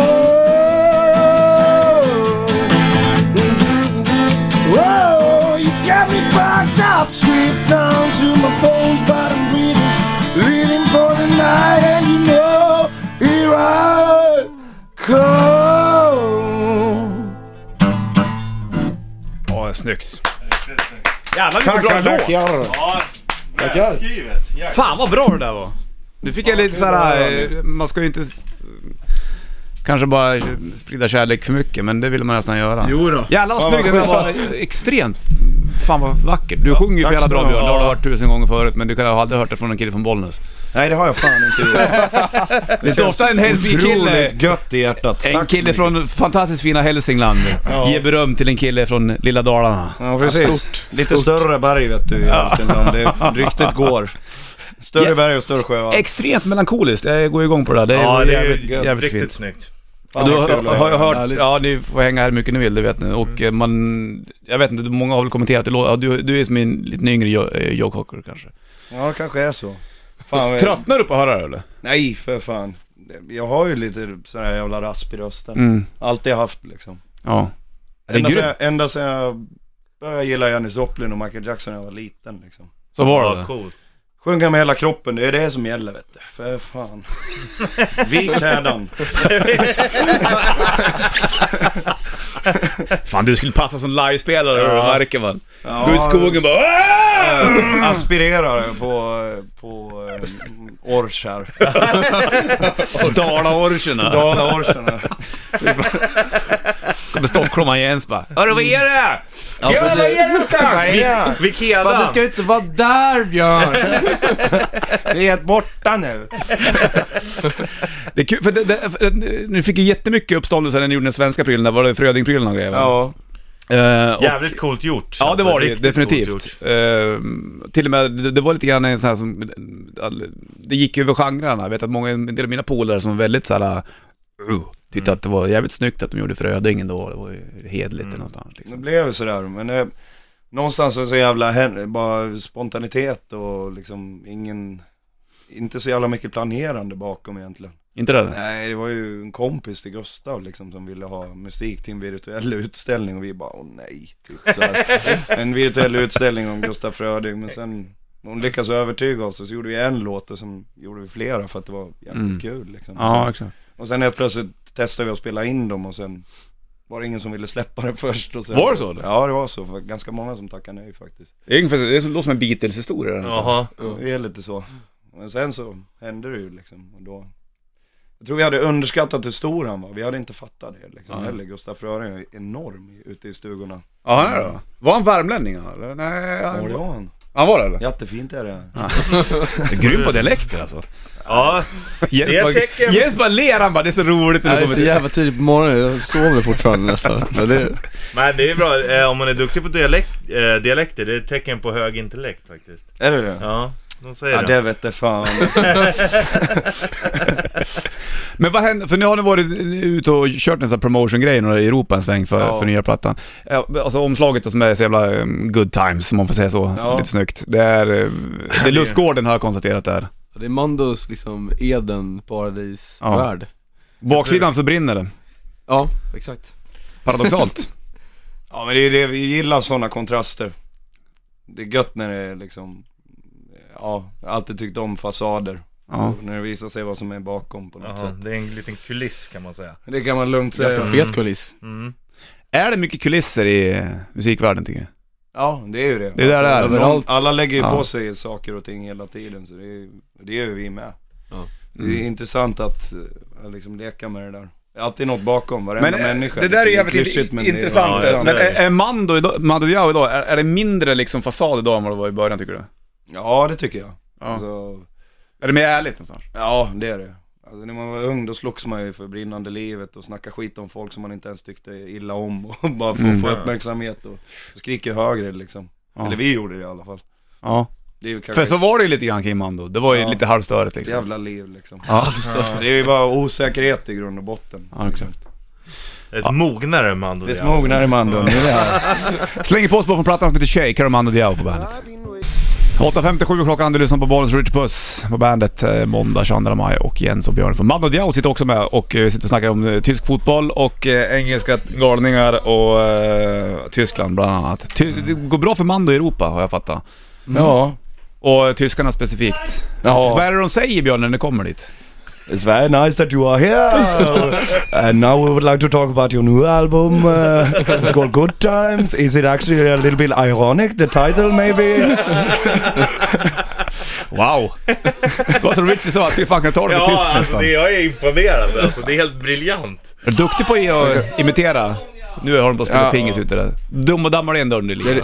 Whoa, you got me fucked up, stripped down to my bones, but I'm breathing, living for the night, and you know, here snyggt! Jävlar vilken Tack, bra tack, låt! ja. Ja, Tackar. välskrivet. Jäklar. Fan vad bra det där var! Nu fick jag lite kul såhär, att höra. eh, man ska ju inte s- kanske bara eh, sprida kärlek för mycket men det vill man nästan göra. Jo då. Jävlar vad Ja, snygg vad den där schysst. var! Extremt, fan vad vacker. Du sjunger ju för tack jävla så bra mycket. Björn, det har du Ja. hört tusen gånger förut men du kan ha aldrig hört det från en kille från Bollnäs. Nej, det har jag fan inte gjort. Det är inte ofta en Hälsingekille, Otroligt gött i hjärtat. en Tack så kille mycket. från fantastiskt fina Hälsingland ger beröm till en kille från lilla Dalarna. Ja, precis. Lite större berg vet du i Hälsingland. Det- Ryktet går. Större Ja. berg och större sjöar. Extremt melankoliskt, jag går igång på det där. Det är Ja, det är jävligt, ju jävligt riktigt fint. snyggt. Fan, du vad har, kul att har jag höra. Mm. hört, Härligt. ja ni får hänga här hur mycket ni vill, det vet ni. Och eh, man, jag vet inte, många har väl kommenterat, det lå- ja, du, du är som en liten yngre Jo- eh, Joe Cocker kanske. Ja, det kanske är så. Fan, vad- Tröttnar du på att höra det eller? Nej, för fan. Jag har ju lite sån här jävla rasp i rösten. Mm, Alltid haft liksom. ja. Det är Ända sedan grymt. jag, ända sedan jag började gilla Janis Joplin och Michael Jackson när jag var liten liksom. Så var Ja, det. coolt. Sjunga med hela kroppen, det är det som gäller vet du. För fan. Vik hädan. Fan du skulle passa som livespelare, ja. märker man. Ja, Alltså, Gå ut i skogen bara "Aah!" Aspirerar på, eh, på eh, ors här. Dala-orcherna. Dala-orchen här. Kommer stockholmaren Jens bara Hörru vad är det? Ja, precis. vad är det någonstans? Ja, Vikeda! inte vara där Björn! Vi är helt borta nu. Det är kul, för det, det, för det- nu fick ju jättemycket uppståndelse när ni gjorde den svenska prylen där, var det Frödingprylen och grejer? va? Ja. Eh, och- Jävligt coolt gjort. Ja det Alltså, var det ju, riktigt coolt gjort. definitivt. Ehm, till och med, det, det var lite grann en sån här som, all- det gick över genrerna. Jag vet att många, en del av mina polare som var väldigt så här, uh, tyckte att det var jävligt snyggt att de gjorde Frödingen då, det var ju hederligt eller någonstans Det liksom. blev ju sådär, men det, någonstans är det så jävla hän- bara spontanitet och liksom ingen, inte så jävla mycket planerande bakom egentligen. Inte det? Nej, det var ju en kompis till Gustav liksom som ville ha musik till en virtuell utställning och vi bara, åh nej, typ så här. En virtuell utställning om Gustav Fröding, men sen hon lyckades övertyga oss och så gjorde vi en låt och sen gjorde vi flera för att det var Mm. jävligt kul liksom. Ja exakt. Och sen helt plötsligt testade vi att spela in dem och sen var det ingen som ville släppa det först. Och sen, Var det så, eller? Ja det var så. Det var ganska många som tackade nej faktiskt. Det är ungefär, det låter som en Beatles-historia. Jaha. Det är lite så. Men sen så hände det ju liksom. Och då, jag tror vi hade underskattat hur stor han var. Vi hade inte fattat det liksom Nej. heller. Gustaf Fröring är enorm i- ute i stugorna. Ja, han är det då. Var han värmlänning eller? Nej, Ja, det han, var han. han var det eller? Jättefint är det. Grym på dialekter alltså. Ja, Det Jens är bara, tecken- Jens bara ler, han bara det är så roligt när Nej, du det är kommer så till... jävla tidigt på morgonen, jag sover fortfarande nästan. Men det, men det är bra. Eh, Om man är duktig på dialekt, eh, dialekter, det är ett tecken på hög intellekt faktiskt. Är det det? Ja, de säger Ja det. det vete fan. Men vad händer, för nu har ni varit ute och kört en sån här promotion-grej några i Europa en sväng för, Ja. för nya plattan. Ja, Alltså omslaget och som är så jävla eh, good times, om man får säga så, Ja. lite snyggt. Det är, eh, det är lustgården har jag konstaterat där. det är Mandos liksom Eden, paradisvärld. Baksidan så brinner det. Ja. exakt. Paradoxalt. Ja men det är ju det, vi gillar sådana kontraster. Det är gött när det är liksom, ja, jag har alltid tyckt om fasader. Ja. När det visar sig vad som är bakom på något Jaha, sätt. det är en liten kuliss kan man säga. Det kan man lugnt säga. Ganska fet kuliss. Mm. Är det mycket kulisser i eh, musikvärlden tycker jag? Ja, det är ju det. Alltså, Det är där det är. någon- Överallt. Alla lägger ju Ja. på sig saker och ting hela tiden, så det, är, det gör ju vi med. Ja. Det Mm. är intressant att eh, liksom leka med det där. Det är alltid något bakom varenda Men eh, människa. det där är liksom. jävligt klyschigt, men det är- intressant. Ja, ja, men så är är, det. är Mando idag, Mando Diao idag, är, är det mindre liksom fasad idag än vad det var i början tycker du? Ja, det tycker jag. Ja. Alltså, Är det mer ärligt någonstans? ja, det är det. Alltså, när man var ung då slogs man ju för brinnande livet och snackade skit om folk som man inte ens tyckte illa om och bara för att Mm. få uppmärksamhet och skriker högre liksom. Ja. Eller vi gjorde det i alla fall. Ja. Det är ju kanske För så var det ju lite grann kring Mando, det var ju Ja. lite halvstörigt ett liksom. jävla liv liksom. Ja. Det är ju bara osäkerhet i grund och botten. Ja, exakt. Ett mognare Mando Det är ett Diao. mognare man då, nu är det här. Slänger på oss på från plattan som heter Shake, här har Mando Diao på bandet. 8.57 klockan, du lyssnar på Bollens Rich Puss på bandet eh, måndag 22 maj och Jens och Björn från Mando Diao sitter också med och eh, sitter och snackar om eh, tysk fotboll och eh, engelska galningar och eh, Tyskland bland annat. Ty det går bra för Mando i Europa har jag fattat. Ja. Och eh, tyskarna specifikt. Ja. Vad är det de säger Björn när ni kommer dit? It's very nice that you are here. and now we would like to talk about your new album. Uh, it's called Good Times. Is it actually a little bit ironic, the title maybe? Wow! Det var som Richie sa, att vi fan kan ta det med tyst Ja, alltså nästan. det, jag är imponerad alltså. Det är helt briljant. Är du duktig på att imitera? Nu har de på att spela Ja. pingis ute där. Dum och dammar igen dörren du ligger.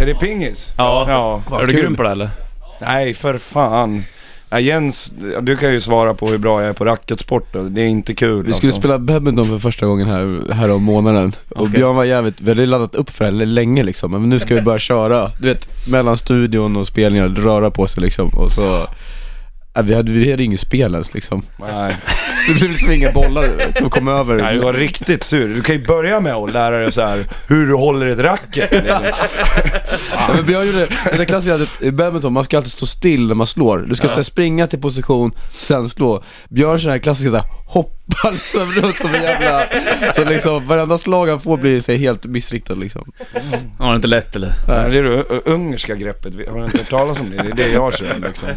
Är det pingis? Ja. Ja. Är du kul. grym på det eller? Nej, för fan. Ja, Jens, du kan ju svara på hur bra jag är på racketsporten. Det är inte kul Vi skulle alltså. spela badminton för första gången här, här om månaden Och Björn var jävligt, vi hade laddat upp för det här länge liksom Men nu ska vi börja köra, du vet mellan studion och spelningar, röra på sig liksom och så Ja, vi, hade, vi hade inget spel ens liksom Nej. Det blev liksom inga bollar du vet, som kom över Nej, du var riktigt sur. Du kan ju börja med att lära dig så här hur du håller ett racket. liksom. Ja, men Björn gjorde, det där klassiska att i badminton, man ska alltid stå still när man slår. Du ska så här springa till position, sen slå. Björn kör den här klassiska såhär, hoppar liksom runt som en jävla, så liksom varenda slag han får blir så här helt missriktad liksom. Har det inte lätt eller? Nej, Det är det ö- ungerska greppet. Vi- Har du inte hört talas om det? Det är det jag kör liksom.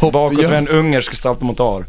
hopp, Bakåt gör- med en ungersk saltomortar.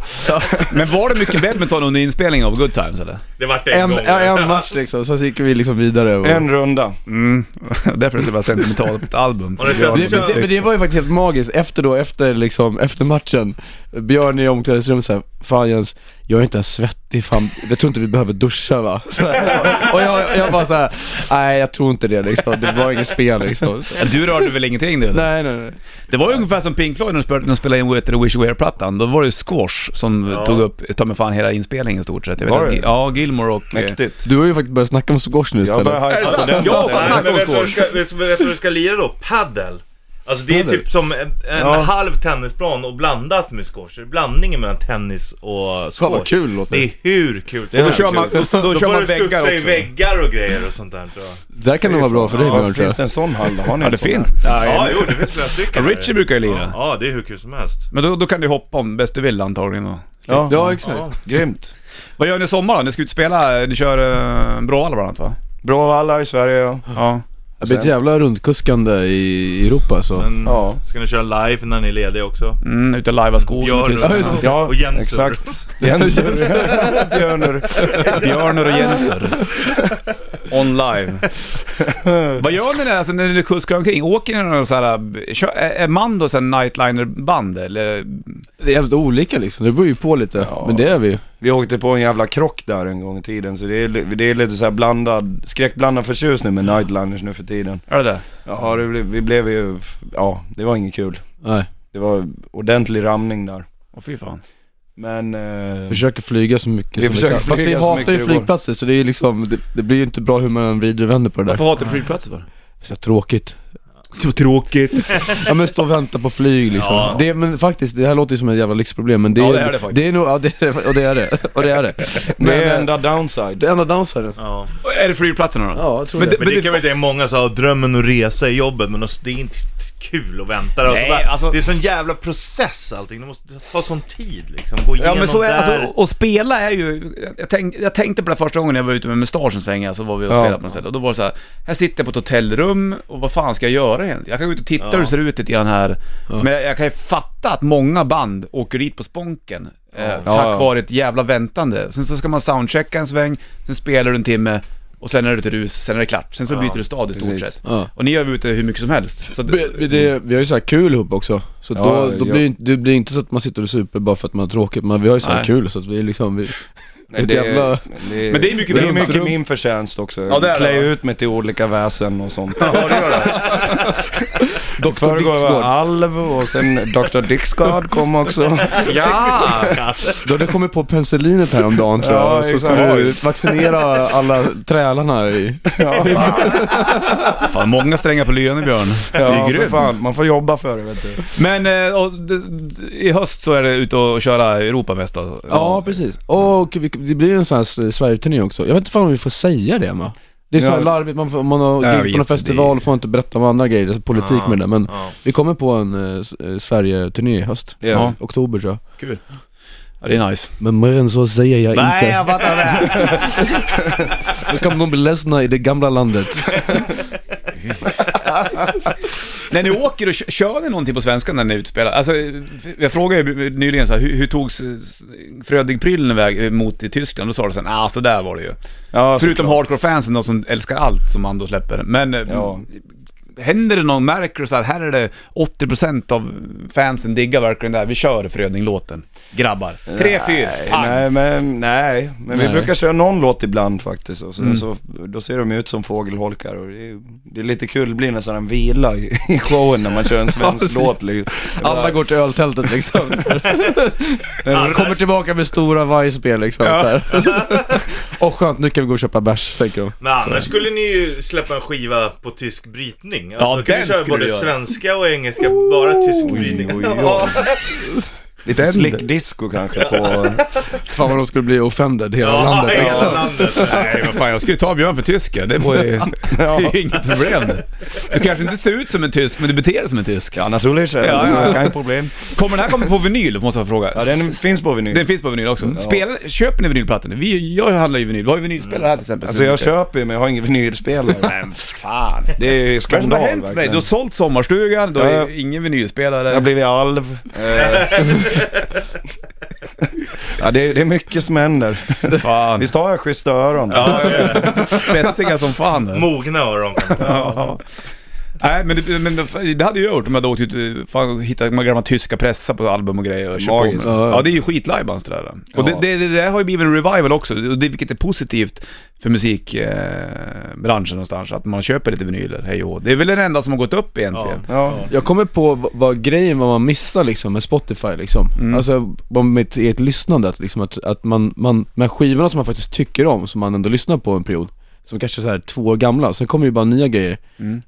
Men var det mycket badminton under inspelningen av Good Times eller? Det vart en, En, gång. ja, en match liksom, sen så gick vi liksom vidare. Och... En runda. Mm. Därför är det bara sentimentalt på ett album. Har du Björn Det, testat- med men, det, men det var ju faktiskt helt magiskt, efter då, efter liksom, efter matchen Björn i omklädningsrummet såhär, fan Jens, jag är inte ens svettig, fan, jag tror inte vi behöver duscha va? Så här, och jag, jag bara såhär, nej jag tror inte det liksom, det var inget spel liksom så, stick. Du rörde väl ingenting du? eller? Nej nej nej Det var ju ungefär som Pink Floyd när de spelade, när de spelade in Wet Wish You Were-plattan. Då var det ju squash som tog upp, ta mig fan hela inspelningen i stort sett. Jag vet Var att- det? Ja, Gilmore och... eh, Mäktigt. Du har ju faktiskt börjat snacka om squash nu Jag istället börjar Är det hajpa på sant? den. Jag har banden. fått Nej, men vet du vad du Snackos ska- vet du- vet du vad du ska lira då? Paddel. Alltså det är Paddel? typ som en, en Ja. halv tennisplan och blandat med squash. Det är Blandningen mellan tennis och Fan vad squash. kul låter Det det är hur kul Och som då helst. kör man, då, då Då kör får man du väggar studsa i också. väggar och grejer och sånt där tror jag. Där kan det vara bra för dig Ja, Björn tror finns jag det en sån hall? Har ni Ja, en det sån finns. här? Ja, jo det finns flera stycken. Richie brukar ju lira. Ja, det är hur kul som helst. Men då, då kan du hoppa om bäst du vill antagligen. då. Ja, Ja exakt Ja. grymt. Vad gör ni i sommar då? Ni ska ut och spela, eh, ni kör uh, Bråvalla bland annat va? Bra alla i Sverige ja. Ja. Det blir ett jävla rundkuskande i Europa så Sen Ja. ska ni köra live när ni är lediga också. Mm, ute och lajva skogen. Björn tyst. och, Ja, och Jensur. exakt. Jensur. Björnur. Björner och Jenser. On live. Vad gör ni när, alltså, när ni kuskar omkring? Åker ni någon så här, eh, kör, är är man då sån nightliner band eller? Det är jävligt olika liksom, det beror ju på lite, men det är vi ju Vi åkte på en jävla krock där en gång i tiden så det är, li- det är lite så här blandad, skräckblandad förtjusning med nightliners nu för tiden. Är det det? Ja, det blev, vi blev ju, ja det var inget kul. Nej, Det var ordentlig ramning där. Åh fy fan. Men... Eh, försöker flyga så mycket Vi som försöker kan. Fast vi flyga så hatar mycket ju det går. flygplatser så det är ju liksom, det, det blir ju inte bra hur man vrider och vänder på det där Varför hatar du flygplatser för? Så tråkigt. Så tråkigt. Ja men stå och vänta på flyg liksom. Ja. Det, men faktiskt, det här låter ju som ett jävla lyxproblem men det, Ja, är, det är det faktiskt. Det är nog, ja det är det, och det är det. Och det är det. Men, det eh, är enda downside. det enda downsiden. Ja. Är det flygplatserna då? Ja, jag tror Men det. Men det kan väl det är många som har drömmen att resa i jobbet men alltså, det är inte kul att vänta. Alltså, Nej, bara, alltså- Det är sån jävla process allting. Det måste ta sån tid liksom. Gå igenom Ja men så är där. alltså, och spela är ju, jag, tänk, jag tänkte på det första gången jag var ute med mustaschen svänga så var vi och Ja. spelade på något ställe och då var det så här, här sitter jag på ett hotellrum och vad fan ska jag göra egentligen? Jag kan gå ut och titta hur det ser ut lite grann här. Men jag, jag kan ju fatta att många band åker dit på sponken. Eh, tack Ja, ja. vare ett jävla väntande. Sen så ska man soundchecka en sväng, sen spelar du en timme och sen är det till rus, sen är det klart. Sen så byter du stad i stort precis. sett. Ja. Och ni gör ju ute hur mycket som helst. Så det, Men- men det, vi har ju så här kul ihop också, så Ja, då, då ja. blir det, inte- det blir inte så att man sitter och super bara för att man har tråkigt, men vi har ju så här Nej. kul så att vi är liksom, vi, Nej, ett jävla... det, Men det är mycket det är rum. mycket Rum. min förtjänst också. Ja, det är det, Klä va? ut mig till olika väsen och sånt. Dr. Förrgår var Dixgård. Alv och sen Dr. Dixgard kom också. ja! Du hade kommit på penicillinet häromdagen tror jag, Ja, så exakt. skulle du vaccinera alla trälarna i... Ja, Fan, många strängar på lyran i Björn. det är ja för grymt. fan. Man får jobba för det vet du. Men eh, och, d- d- i höst så är det ut och köra Europa mest då? Ja, precis. Och vi, det blir ju en sån här s- Sverige-turné också. Jag vet inte fan om vi får säga det va? Det är så här Ja. larvigt, man, får- man har Jag gig på någon vet, festival det- får inte berätta om andra grejer, alltså politik Ja, med det men ja. vi kommer på en eh, s- eh, Sverige-turné i höst. Ja. Oktober tror jag. Kul. Ja, det är nice. Men mer än så säger jag inte. fattar det. Då kan de bli ledsna i det gamla landet. När ni åker, och kö- kör ni någonting på svenska när ni utspelar? Alltså, jag frågade ju nyligen så här, hur, hur togs eh, Frödigprillen väg mot i Tyskland? Då sa du sen, ah så där var det ju. Ja, Förutom såklart. hardcore-fansen då som älskar allt som man då släpper. Men eh, Ja. händer det någon, märker du så här, här är det 80% av fansen diggar verkligen det här, vi kör Fröding-låten. Grabbar. Tre, fyra, pang. Nej, men, nej. men Nej. Mm. vi brukar köra någon låt ibland faktiskt. Och så, så, då ser de ut som fågelholkar och det är, det är lite kul, det blir nästan en vila i, i showen när man kör en Ja, svensk precis. låt. Liksom. Alla går till öltältet liksom. Eh, Kommer tillbaka med stora vajspel liksom. Ja. Och skönt, nu kan vi gå och köpa bärs, tänker de. Men annars skulle ni ju släppa en skiva på tysk brytning. Alltså, Ja, då kan ni den köra skulle både du göra. svenska och engelska, bara tysk brytning. oj, oj. Lite slick disco kanske på... Fan vad de skulle bli offended hela Ja, landet. hela Liksom. landet. alltså. Nej, vad fan, jag skulle ta Björn för tysk ja. det var ju det är ju inget problem. Du kanske inte ser ut som en tysk, men du beter dig som en tysk. Ja, naturligtvis. Ja, ja. Kein problem. Kommer den här komma på vinyl, måste jag fråga? Ja, den finns på vinyl. Den finns på vinyl också. Spelar, köper ni vinylplattorna? Vi, jag handlar ju vinyl. Vi har ju vinylspelare här till exempel. Alltså jag köper ju men jag har ingen vinylspelare. Nej, men fan. Det är ju Vad är det skandal som har hänt med dig? Du har verkligen. sålt sommarstugan, du har Ja. ju ingen vinylspelare. Jag har blivit alv. Eh. ja, det, är, det är mycket som händer. Fan. Visst har jag schyssta öron? Ja, ja. Spetsiga som fan. Mogna öron. Ja. Nej men, det, men det- det hade jag gjort om jag hade åkt ut eh, fan, och hittat de här gamla tyska pressar på album och grejer och köpt på mig. Magiskt. Ja, ja. Ja det är ju skitlajbans det där. Och Ja. det, det, det, där har ju blivit en revival också, och det, vilket är positivt för musikbranschen någonstans. Att man köper lite vinyler, hej och hå. Det är väl den enda som har gått upp egentligen. Ja. Ja. Jag kommer på v- vad grejen vad man missar liksom med Spotify liksom. Mm. Alltså vad mitt eget lyssnande, att, liksom, att, att man, man, de här skivorna som man faktiskt tycker om, som man ändå lyssnar på en period, som kanske är så här två år gamla, sen kommer ju bara nya grejer. Mm.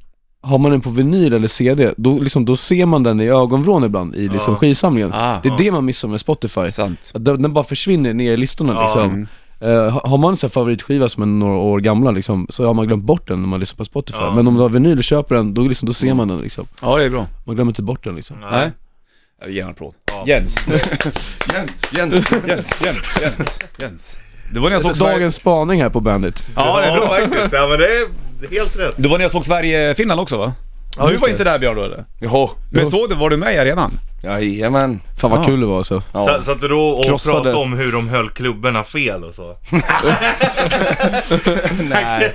Har man den på vinyl eller CD, då, liksom, då ser man den i ögonvrån ibland i liksom, Ja. skivsamlingen. Ah, Det är det man missar med Spotify. sant. Att den den bara försvinner ner i listorna Ja. liksom. Mm. Eh, ha- har man en sån här favoritskiva som är några år gamla liksom, så har man glömt bort den när man lyssnar på Spotify. Ja. Men om du har vinyl och köper den, då, liksom, då ser man den liksom. Ja det är bra. Man glömmer inte bort den liksom. Nej. Jag vill ge en applåd. Ja. Jens. Jens, Jens. Jens, Jens, Jens, Jens. Det var när jag såg Alltså, Sverige... Dagens spaning här på Bandit. Ja, det är bra. faktiskt. Ja, men det är helt rätt. Det var när jag såg Sverige-Finland också va? du just var det. inte där Björn då eller? Jo, Men såg du, var du med i arenan? jajamän. Fan vad Ja. kul det var alltså. Ja. Så, så att du då och Krossade. pratade om hur de höll klubborna fel och så. Nej,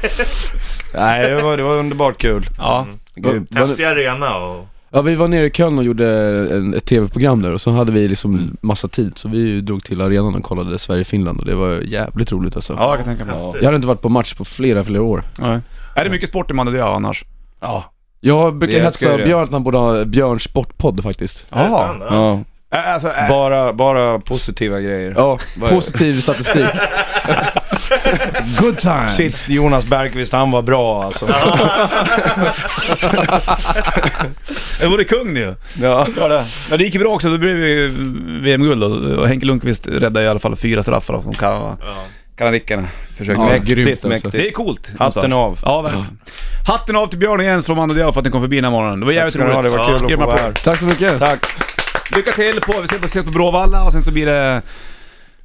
Nej det, var, det var underbart kul. Ja. Grymt. Var det- Häftig arena och... Ja vi var nere i Köln och gjorde en, ett tv-program där och så hade vi Mm. liksom massa tid så vi drog till arenan och kollade Sverige-Finland och det var jävligt roligt alltså. Ja, jag kan tänka mig. Jag hade inte varit på match på flera, flera år. Nej. Är det mycket sport i Mandedö annars? Ja. Jag brukar Det hetsa älskar ju det. Björn att han borde ha Björns sportpodd faktiskt. Jaha. ja. Äh, Alltså, äh, Bara, bara positiva grejer. Ja, Vad är- positiv statistik. Good time! Shit, Jonas Bergqvist han var bra alltså. det vore kung nu. Ja. Ja det. Ja, det gick ju bra också, då blev vi VM-guld då. och Henke Lundqvist räddade i alla fall fyra straffar då, som kan- Ja. kanadickarna försökte. Ja, mäktigt, grymt alltså. mäktigt. Det är coolt. Hatten av. Ja, verkligen. Hatten av till Björn och Jens från Mandedö för att ni kom förbi den här morgonen. Det var jävligt Ska ni ha, det roligt. var Ja, kul att ge få dem vara här. applåd. Tack så mycket! Tack. Lycka till på, vi ses på, ses på Bråvalla och sen så blir det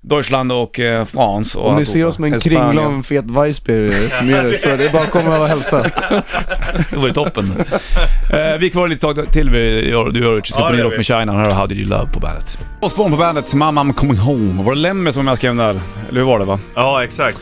Deutschland och eh, France och Om ni alltihopa. ser oss med en Spanien. kringla och en fet Weissbier med er, så är det bara att komma och hälsa. Det vore toppen. eh, vi är kvar lite tag till. Vi gör, du gör Richie, så Ja, får det ni gör rock vi. med China. Här har How Did You Love på bandet. Osborn på bandet, Mamma I'm Coming Home. Var det Lemmy som var med och skrev den där? Eller hur var det va? ja, exakt.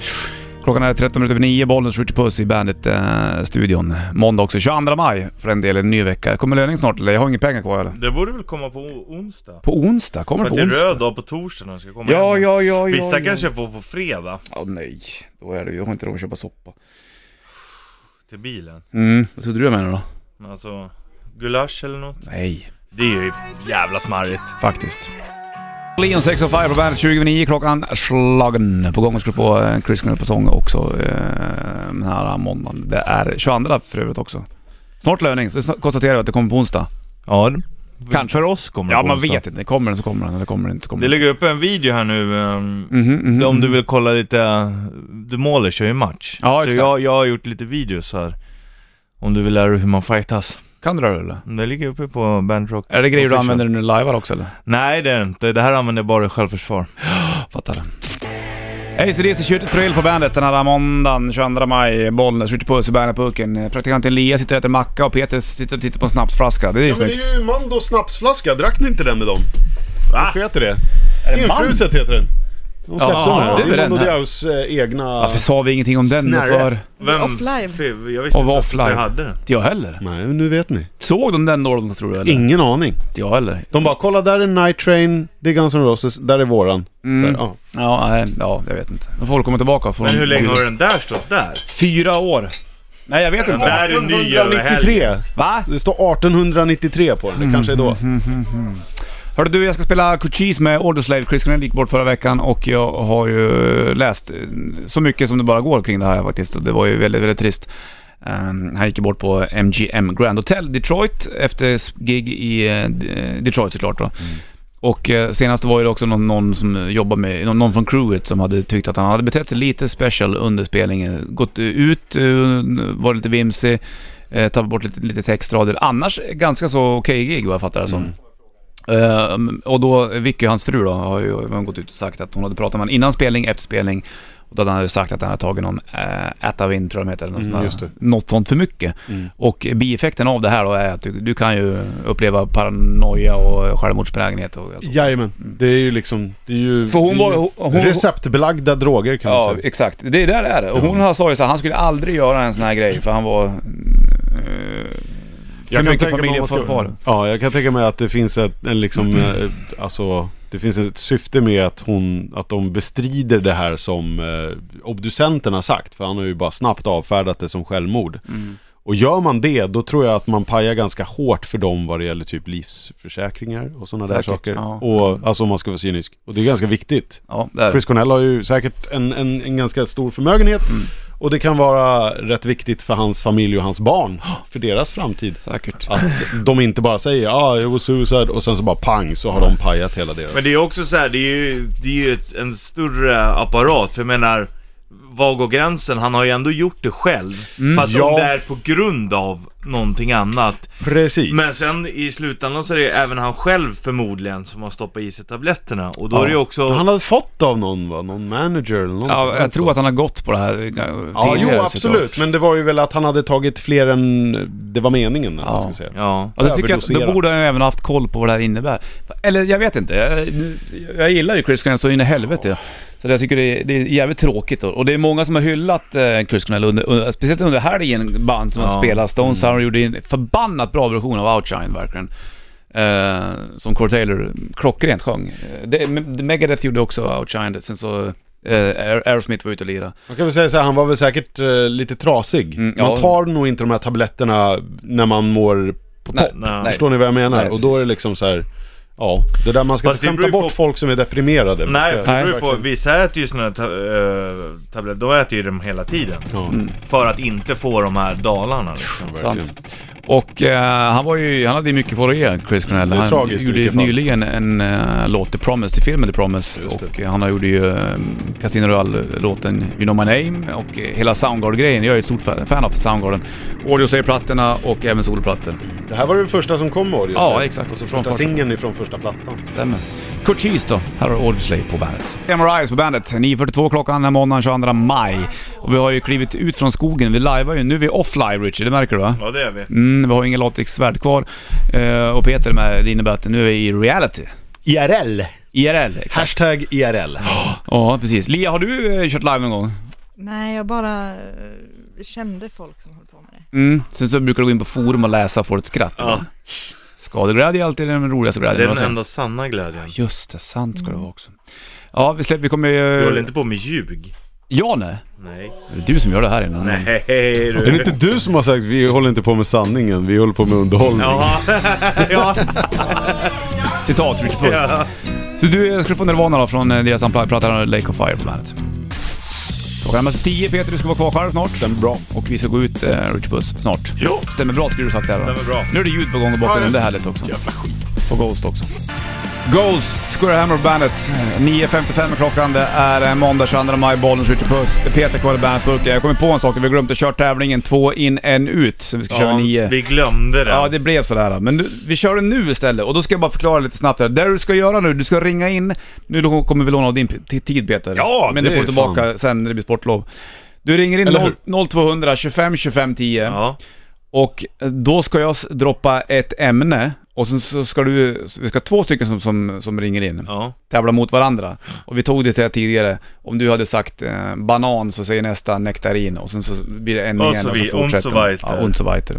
Klockan är 13 minuter över 9, Bollnäs Richie Puss i Bandet-studion. Måndag också, 22 maj för en del, en ny vecka. Kommer löning snart eller? Jag har inga pengar kvar eller? Det borde väl komma på onsdag? På onsdag? Kommer För det på att det är röd onsdag? dag på torsdag när de ska komma Ja, hem. ja, ja, ja. Vissa ja. kanske får på fredag Ja, nej. Då är det ju, jag har inte råd att köpa soppa. till bilen. Mm, vad trodde du jag menade då? Alltså, gulasch eller något. Nej, Det är ju jävla smarrigt. faktiskt. Leon 6 och Fire på bandet 29 klockan slagen. På gång ska du få en Chris Cornell på sång också eh, den här måndagen. Det är 22 för övrigt också. Snart löning, så snart konstaterar vi att det kommer på onsdag. Ja, Kanske. för oss kommer det Ja, på man onsdag. vet inte. Kommer den så kommer den, eller kommer den inte så kommer Det den ligger upp en video här nu. ehm, Mhm, mhm, mhm. Om du vill kolla lite, du målar kör ju match. Ja, så exakt. jag, jag har gjort lite videos här. Om du vill lära dig hur man fightas. Kan du det eller? Det ligger uppe på Bandrock. Är det grejer du Official. använder när du livear också eller? Nej det är det inte. Det här använder jag bara i självförsvar. Fattar. ACDC kör thrill på bandet den här måndagen 22 maj. Bollnäs skjuter puss i bandet-pucken. Praktikant Elias sitter och äter macka och Peter sitter och tittar på en snapsflaska. Det är ju Ja, men det snyggt. är ju Mando snapsflaska, drack ni inte den med dem? Va? Vad heter det? Infruset heter den. De släppte Ja, det den. Det är är ju den Mando här. Diaos eh, egna... Varför sa vi ingenting om den då Snärre. för? Vem? Offline. Fy- Jag visste Och var inte att jag offline. hade den. Inte jag heller. Nej, nu vet ni. Såg de den då tror du eller? Ingen aning. Inte jag heller. De bara, kolla där är Night Train, det är Guns N' Roses, där är våran. Mm. Så, här, ja. Ja, nej, ja, jag vet inte. De får väl komma tillbaka. Får Men de- hur länge har den där stått där? Fyra år. Nej, jag vet Den inte. där är ny över helgen. 1893. Va? Det står 1893 på den, det kanske är då. Mm-hmm. Hörru du, jag ska spela Cochise med Orderslave. Chris Cornell gick bort förra veckan och jag har ju läst eh, så mycket som det bara går kring det här faktiskt. Och Det var ju väldigt, väldigt trist. Eh, han gick ju bort på MGM Grand Hotel Detroit efter s- gig i eh, D- Detroit såklart då. Och eh, senast var ju det också någon, någon som jobbar med, någon, någon från crewet som hade tyckt att han hade betett sig lite special under spelningen. Gått ut, eh, varit lite vimsig, eh, tappat bort lite, lite textrader. Annars ganska så okej gig vad jag fattar det som. Ehm, och då, Vicky, hans fru då, har ju har gått ut och sagt att hon hade pratat med honom innan spelning, efter spelning. Och då hade han ju sagt att han hade tagit någon äh, Atavin, tror jag de heter, eller något, Mm, sånt där, just det. något sånt för mycket. Och bieffekten av det här då är att du, du kan ju uppleva paranoia och självmordsbenägenhet och allt. Jajamän, det är ju liksom, det är ju, För hon det är var- ju hon- hon- receptbelagda droger kan man Ja, säga. exakt. Det är där det är. Och hon har- sa ju så här, han skulle aldrig göra en sån här grej för han var... eh, för mycket man ska- familjefar. Ja, jag kan tänka mig att det finns ett, en liksom, Mm. eh, alltså, det finns ett syfte med att hon, att de bestrider det här som eh, obducenten har sagt. För han har ju bara snabbt avfärdat det som självmord. Mm. Och gör man det, då tror jag att man pajar ganska hårt för dem vad det gäller typ livsförsäkringar och sådana där Säkert, saker. ja. Mm. Och, alltså om man ska vara cynisk. Och det är ganska viktigt. Ja, det är det. Chris Cornell har ju säkert en, en, en ganska stor förmögenhet Mm. och det kan vara rätt viktigt för hans familj och hans barn, för deras framtid. Säkert. Att de inte bara säger ah, it was suicide och sen så bara pang så har de pajat hela deras... Men det är också så här, det är ju, det är ju ett, en större apparat, för jag menar, var går gränsen? Han har ju ändå gjort det själv. fast om Ja. det är på grund av någonting annat. Precis. Men sen i slutändan så är det ju även han själv förmodligen som har stoppat i sig tabletterna. Och då är det ju också... Han hade fått av någon va? Någon manager eller någonting. Ja, jag tror att han har gått på det här eh, tidigare. Ja, jo såklart. absolut. Men det var ju väl att han hade tagit fler än det var meningen. Eller vad man ska säga. Ja. Ja, då tycker jag att då Överdoserat. borde han ju även haft koll på vad det här innebär. Eller jag vet inte, jag, nu- jag gillar ju Chris Cornell så in i helvete. Så jag tycker det är, det är jävligt tråkigt. Och och det är många som har hyllat eh, Chris Cornell, under, under, speciellt under helgen, band som Ja. har spelat. Mm. Stone Sour gjorde en förbannat bra version av Outshine verkligen. Eh, som Core Taylor klockrent sjöng. Eh, Det, Me- Megadeth gjorde också Outshine, sen så eh, Aer- Aerosmith var ute och lirade. Man kan väl säga så här, han var väl säkert eh, lite trasig. Mm, ja. Man tar nog inte de här tabletterna när man mår på Nej, topp. nej. Förstår ni vad jag menar? Nej, och då är det precis. liksom så här, ja, det där man ska Fast inte det skämta beror ju bort på- folk som är deprimerade. Nej, Ska- för det beror ju på. verkligen. Vissa äter ju såna här ta- eh, tabletter, de äter ju dem hela tiden. Ja, Mm. För att inte få de här dalarna liksom. verkligen. Sant. Och eh, han, var ju, han hade ju mycket för att ge, Chris Cornell. Det är han tragiskt i gjorde ju vilket fall. nyligen en eh, låt, The Promise, till filmen The Promise. Just det. Och eh, han gjorde ju eh, Casino Royale-låten You know my name och eh, hela Soundgarden-grejen. Jag är ett stort fan, fan av Soundgarden. Audio plattorna och även solplattor. Det här var den första som kom Orgel. Ja, exakt. Och så från Första farten. singeln ifrån första plattan. Stämmer. Cochise då. Här har du Audioslave på bandet. MRIs på bandet. 9.42 klockan den här måndagen 22 maj. Och vi har ju klivit ut från skogen. Vi lajvar ju. Nu är vi off-live Richie, det märker du va? Ja, det är vi. Mm, vi har inga latexsvärd kvar. Eh, och Peter med, det innebär att nu är vi i reality. IRL. IRL, exakt. Hashtag IRL. Ja, precis. Lia, har du eh, kört live någon gång? Nej, jag bara eh, kände folk som höll på med det. Mm. Sen så brukar du gå in på forum och läsa och få ett skratt. Ja. Skadeglädje är alltid den roligaste Det glädjen. är den vad säger- enda sanna glädjen. Just det, sant ska det vara också. Ja, vi släpper, vi kommer Du håller ju... inte på med ljug. Ja, nej. Nej. Det är du som gör det här innan. Nej Är det du. inte du som har sagt vi håller inte på med sanningen, vi håller på med underhållning? Ja. ja. Citat, Richard Puss. Ja. Så du eh, ska få Nirvana då från eh, deras Unplugged, plattan Lake of Fire på bandet. Klockan närmar sig 10, Peter du ska vara kvar själv snart. Stämmer bra. Och vi ska gå ut, eh, Richard Puss, snart. Jo. Stämmer bra skulle du sagt där då. Stämmer bra. Nu är det ljud på gång och bakgrunden, det är härligt också. Jävla skit. Och Ghost också. Ghost, Square Hammer Bandet. 9.55 är klockan. Det är en måndag 22 maj. Bollen skjuter puss. Peter kvar i Bandetburken. Jag kommer på en sak. Vi har glömt att köra tävlingen två in, en ut. Så vi ska köra nio. vi glömde det. Ja, det blev sådär. Men nu, vi kör den nu istället och då ska jag bara förklara lite snabbt här. Det du ska göra nu, du ska ringa in. Nu då kommer vi låna av din p- t- tid Peter. Ja, Men det du får är tillbaka sen när det blir sportlov. Du ringer in Eller 0, 0200 25 25 10 Ja. och eh, då ska jag s- droppa ett ämne och sen så ska du, vi ska ha två stycken som, som, som ringer in. ja. Tävla mot varandra. Och vi tog det till tidigare, om du hade sagt eh, banan så säger nästa nektarin och sen så blir det en Och igen så och så vi- fortsätter und so man. weiter. ja, und so weiter.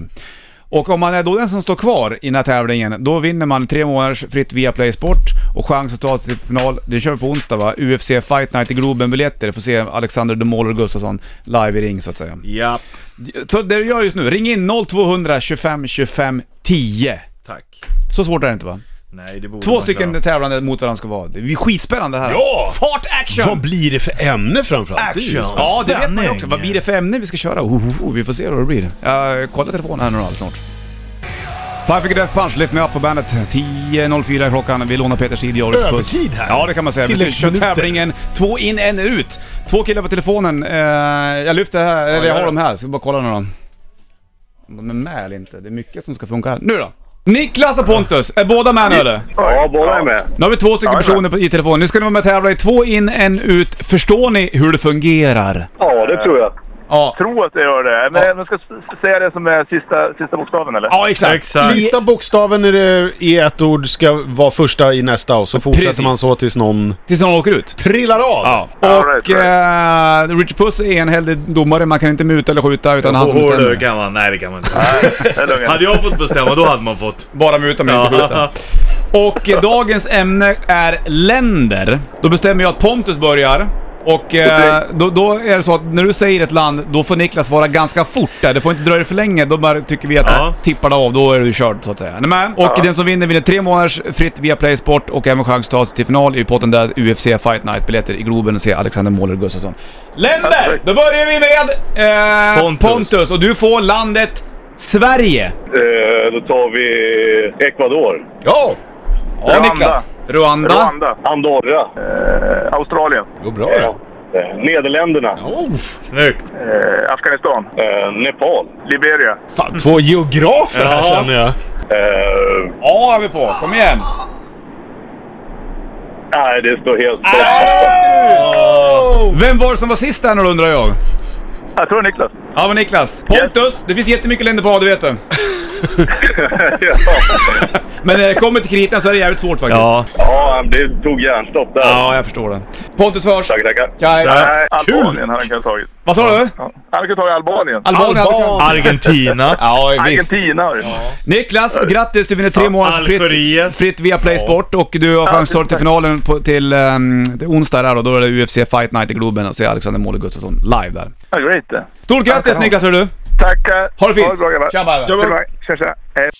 Och om man är då den som står kvar i den här tävlingen, då vinner man tre månaders fritt Viaplay Sport och chans att ta sig till final, det kör vi på onsdag va? UFC Fight Night i Globen-biljetter, får se Alexander The Mauler Gustafsson live i ring så att säga. ja, Så det du gör just nu, ring in 0200 25 25 10. tack. Så svårt är det inte va? Nej, det borde Två man stycken klara. tävlande mot varandra ska vara. Det är skitspännande här. Ja! Fart action! Vad blir det för ämne framförallt? Det är ju Action. spännande. Ja, det vet man ju också. Spänning. Vad blir det för ämne vi ska köra? Oh, oh, oh, vi får se vad det blir. Jag kollar telefonen här nu då, alldeles snart. Five Finger Death Punch, Lift Me Up på bandet. 10.04 är klockan. Vi lånar Peters tid, jag rycker puss. Övertid här. Ja, det kan man säga. Vi kör Tilläggsminuter. tävlingen två in, en ut. Två killar på telefonen. Eh, jag lyfter här, eller jag gör har det. dem här. Ska bara kolla nu då. Om de är med eller inte. Det är mycket som ska funka här. Nu då! Niklas och Pontus, är båda med nu eller? Ja, båda är med. Nu har vi två stycken Ja, det är personer på- i telefonen. Nu ska ni vara med och tävla i två in, en ut. Förstår ni hur det fungerar? Ja, det tror jag. Ja. Tror att jag gör det. Men jag ska s- säga det som är sista, sista bokstaven, eller? Ja, exakt. Exakt. Vi- Sista bokstaven är det- i ett ord ska vara första i nästa och så fortsätter Precis. man så tills någon Tills någon åker ut. trillar av. Ja. All Och right, all eh, Richard Puss är enhällig domare. Man kan inte muta eller skjuta utan han som Åh, det bestämmer. kan man. Nej, det kan man inte. Det är lugnt. hade jag fått bestämma, då hade man fått. Bara muta men inte skjuta. Och eh, dagens ämne är länder. Då bestämmer jag att Pontus börjar. Och eh, då, då är det så att när du säger ett land, då får Niklas vara ganska fort där. Det får inte dröja för länge. Då bara tycker vi att Ja. tippar det av, då är du körd så att säga. Är ni med? Och den som vinner vinner tre månaders fritt via Play Sport och även chans att ta sig till final i potten där UFC Fight Night-biljetter i Globen och se Alexander Måler Gustafsson. Länder! Då börjar vi med eh, Pontus. Pontus. Pontus och du får landet Sverige. Eh, Då tar vi Ecuador. Ja! Ja, Niklas. Rwanda. Rwanda. Andorra. Eh, Australien. Det går bra det. Eh, Nederländerna. Oh, Snyggt. Eh, Afghanistan. Eh, Nepal. Liberia. fan, två geografer här Ja. känner jag. Eh, Ja, är vi på. Kom igen. nej, det står helt Vem var det som var sist där nu undrar jag? Jag tror Niklas. Ja men Niklas. Pontus, det finns jättemycket länder på A, du vet det. ja. Men när det kommer till kritan så är det jävligt svårt faktiskt. Ja. ja, det tog hjärnstopp där. Ja, jag förstår det. Pontus först. Tackar, tackar. Kaj. Nej, Albanien hade han kunnat tagit. Vad sa du? Ja. Han hade kunnat tagit Albanien. Albanien. Alban. Argentina. Ja, visst. Argentina har ja. Niklas, grattis! Du vinner tre månader fritt, Algeriet. fritt via Play Sport och du har chans att ta dig till finalen på, till um, det är onsdag där då. Då är det UFC Fight Night i Globen och se Alexander Måle Gustafsson live där. ja, great det. Stort grattis Niklas hör du! Tackar. Ha det fint! bra grabbar. Tja, bye, bye. Tja, bye. Tja, tja. Hej.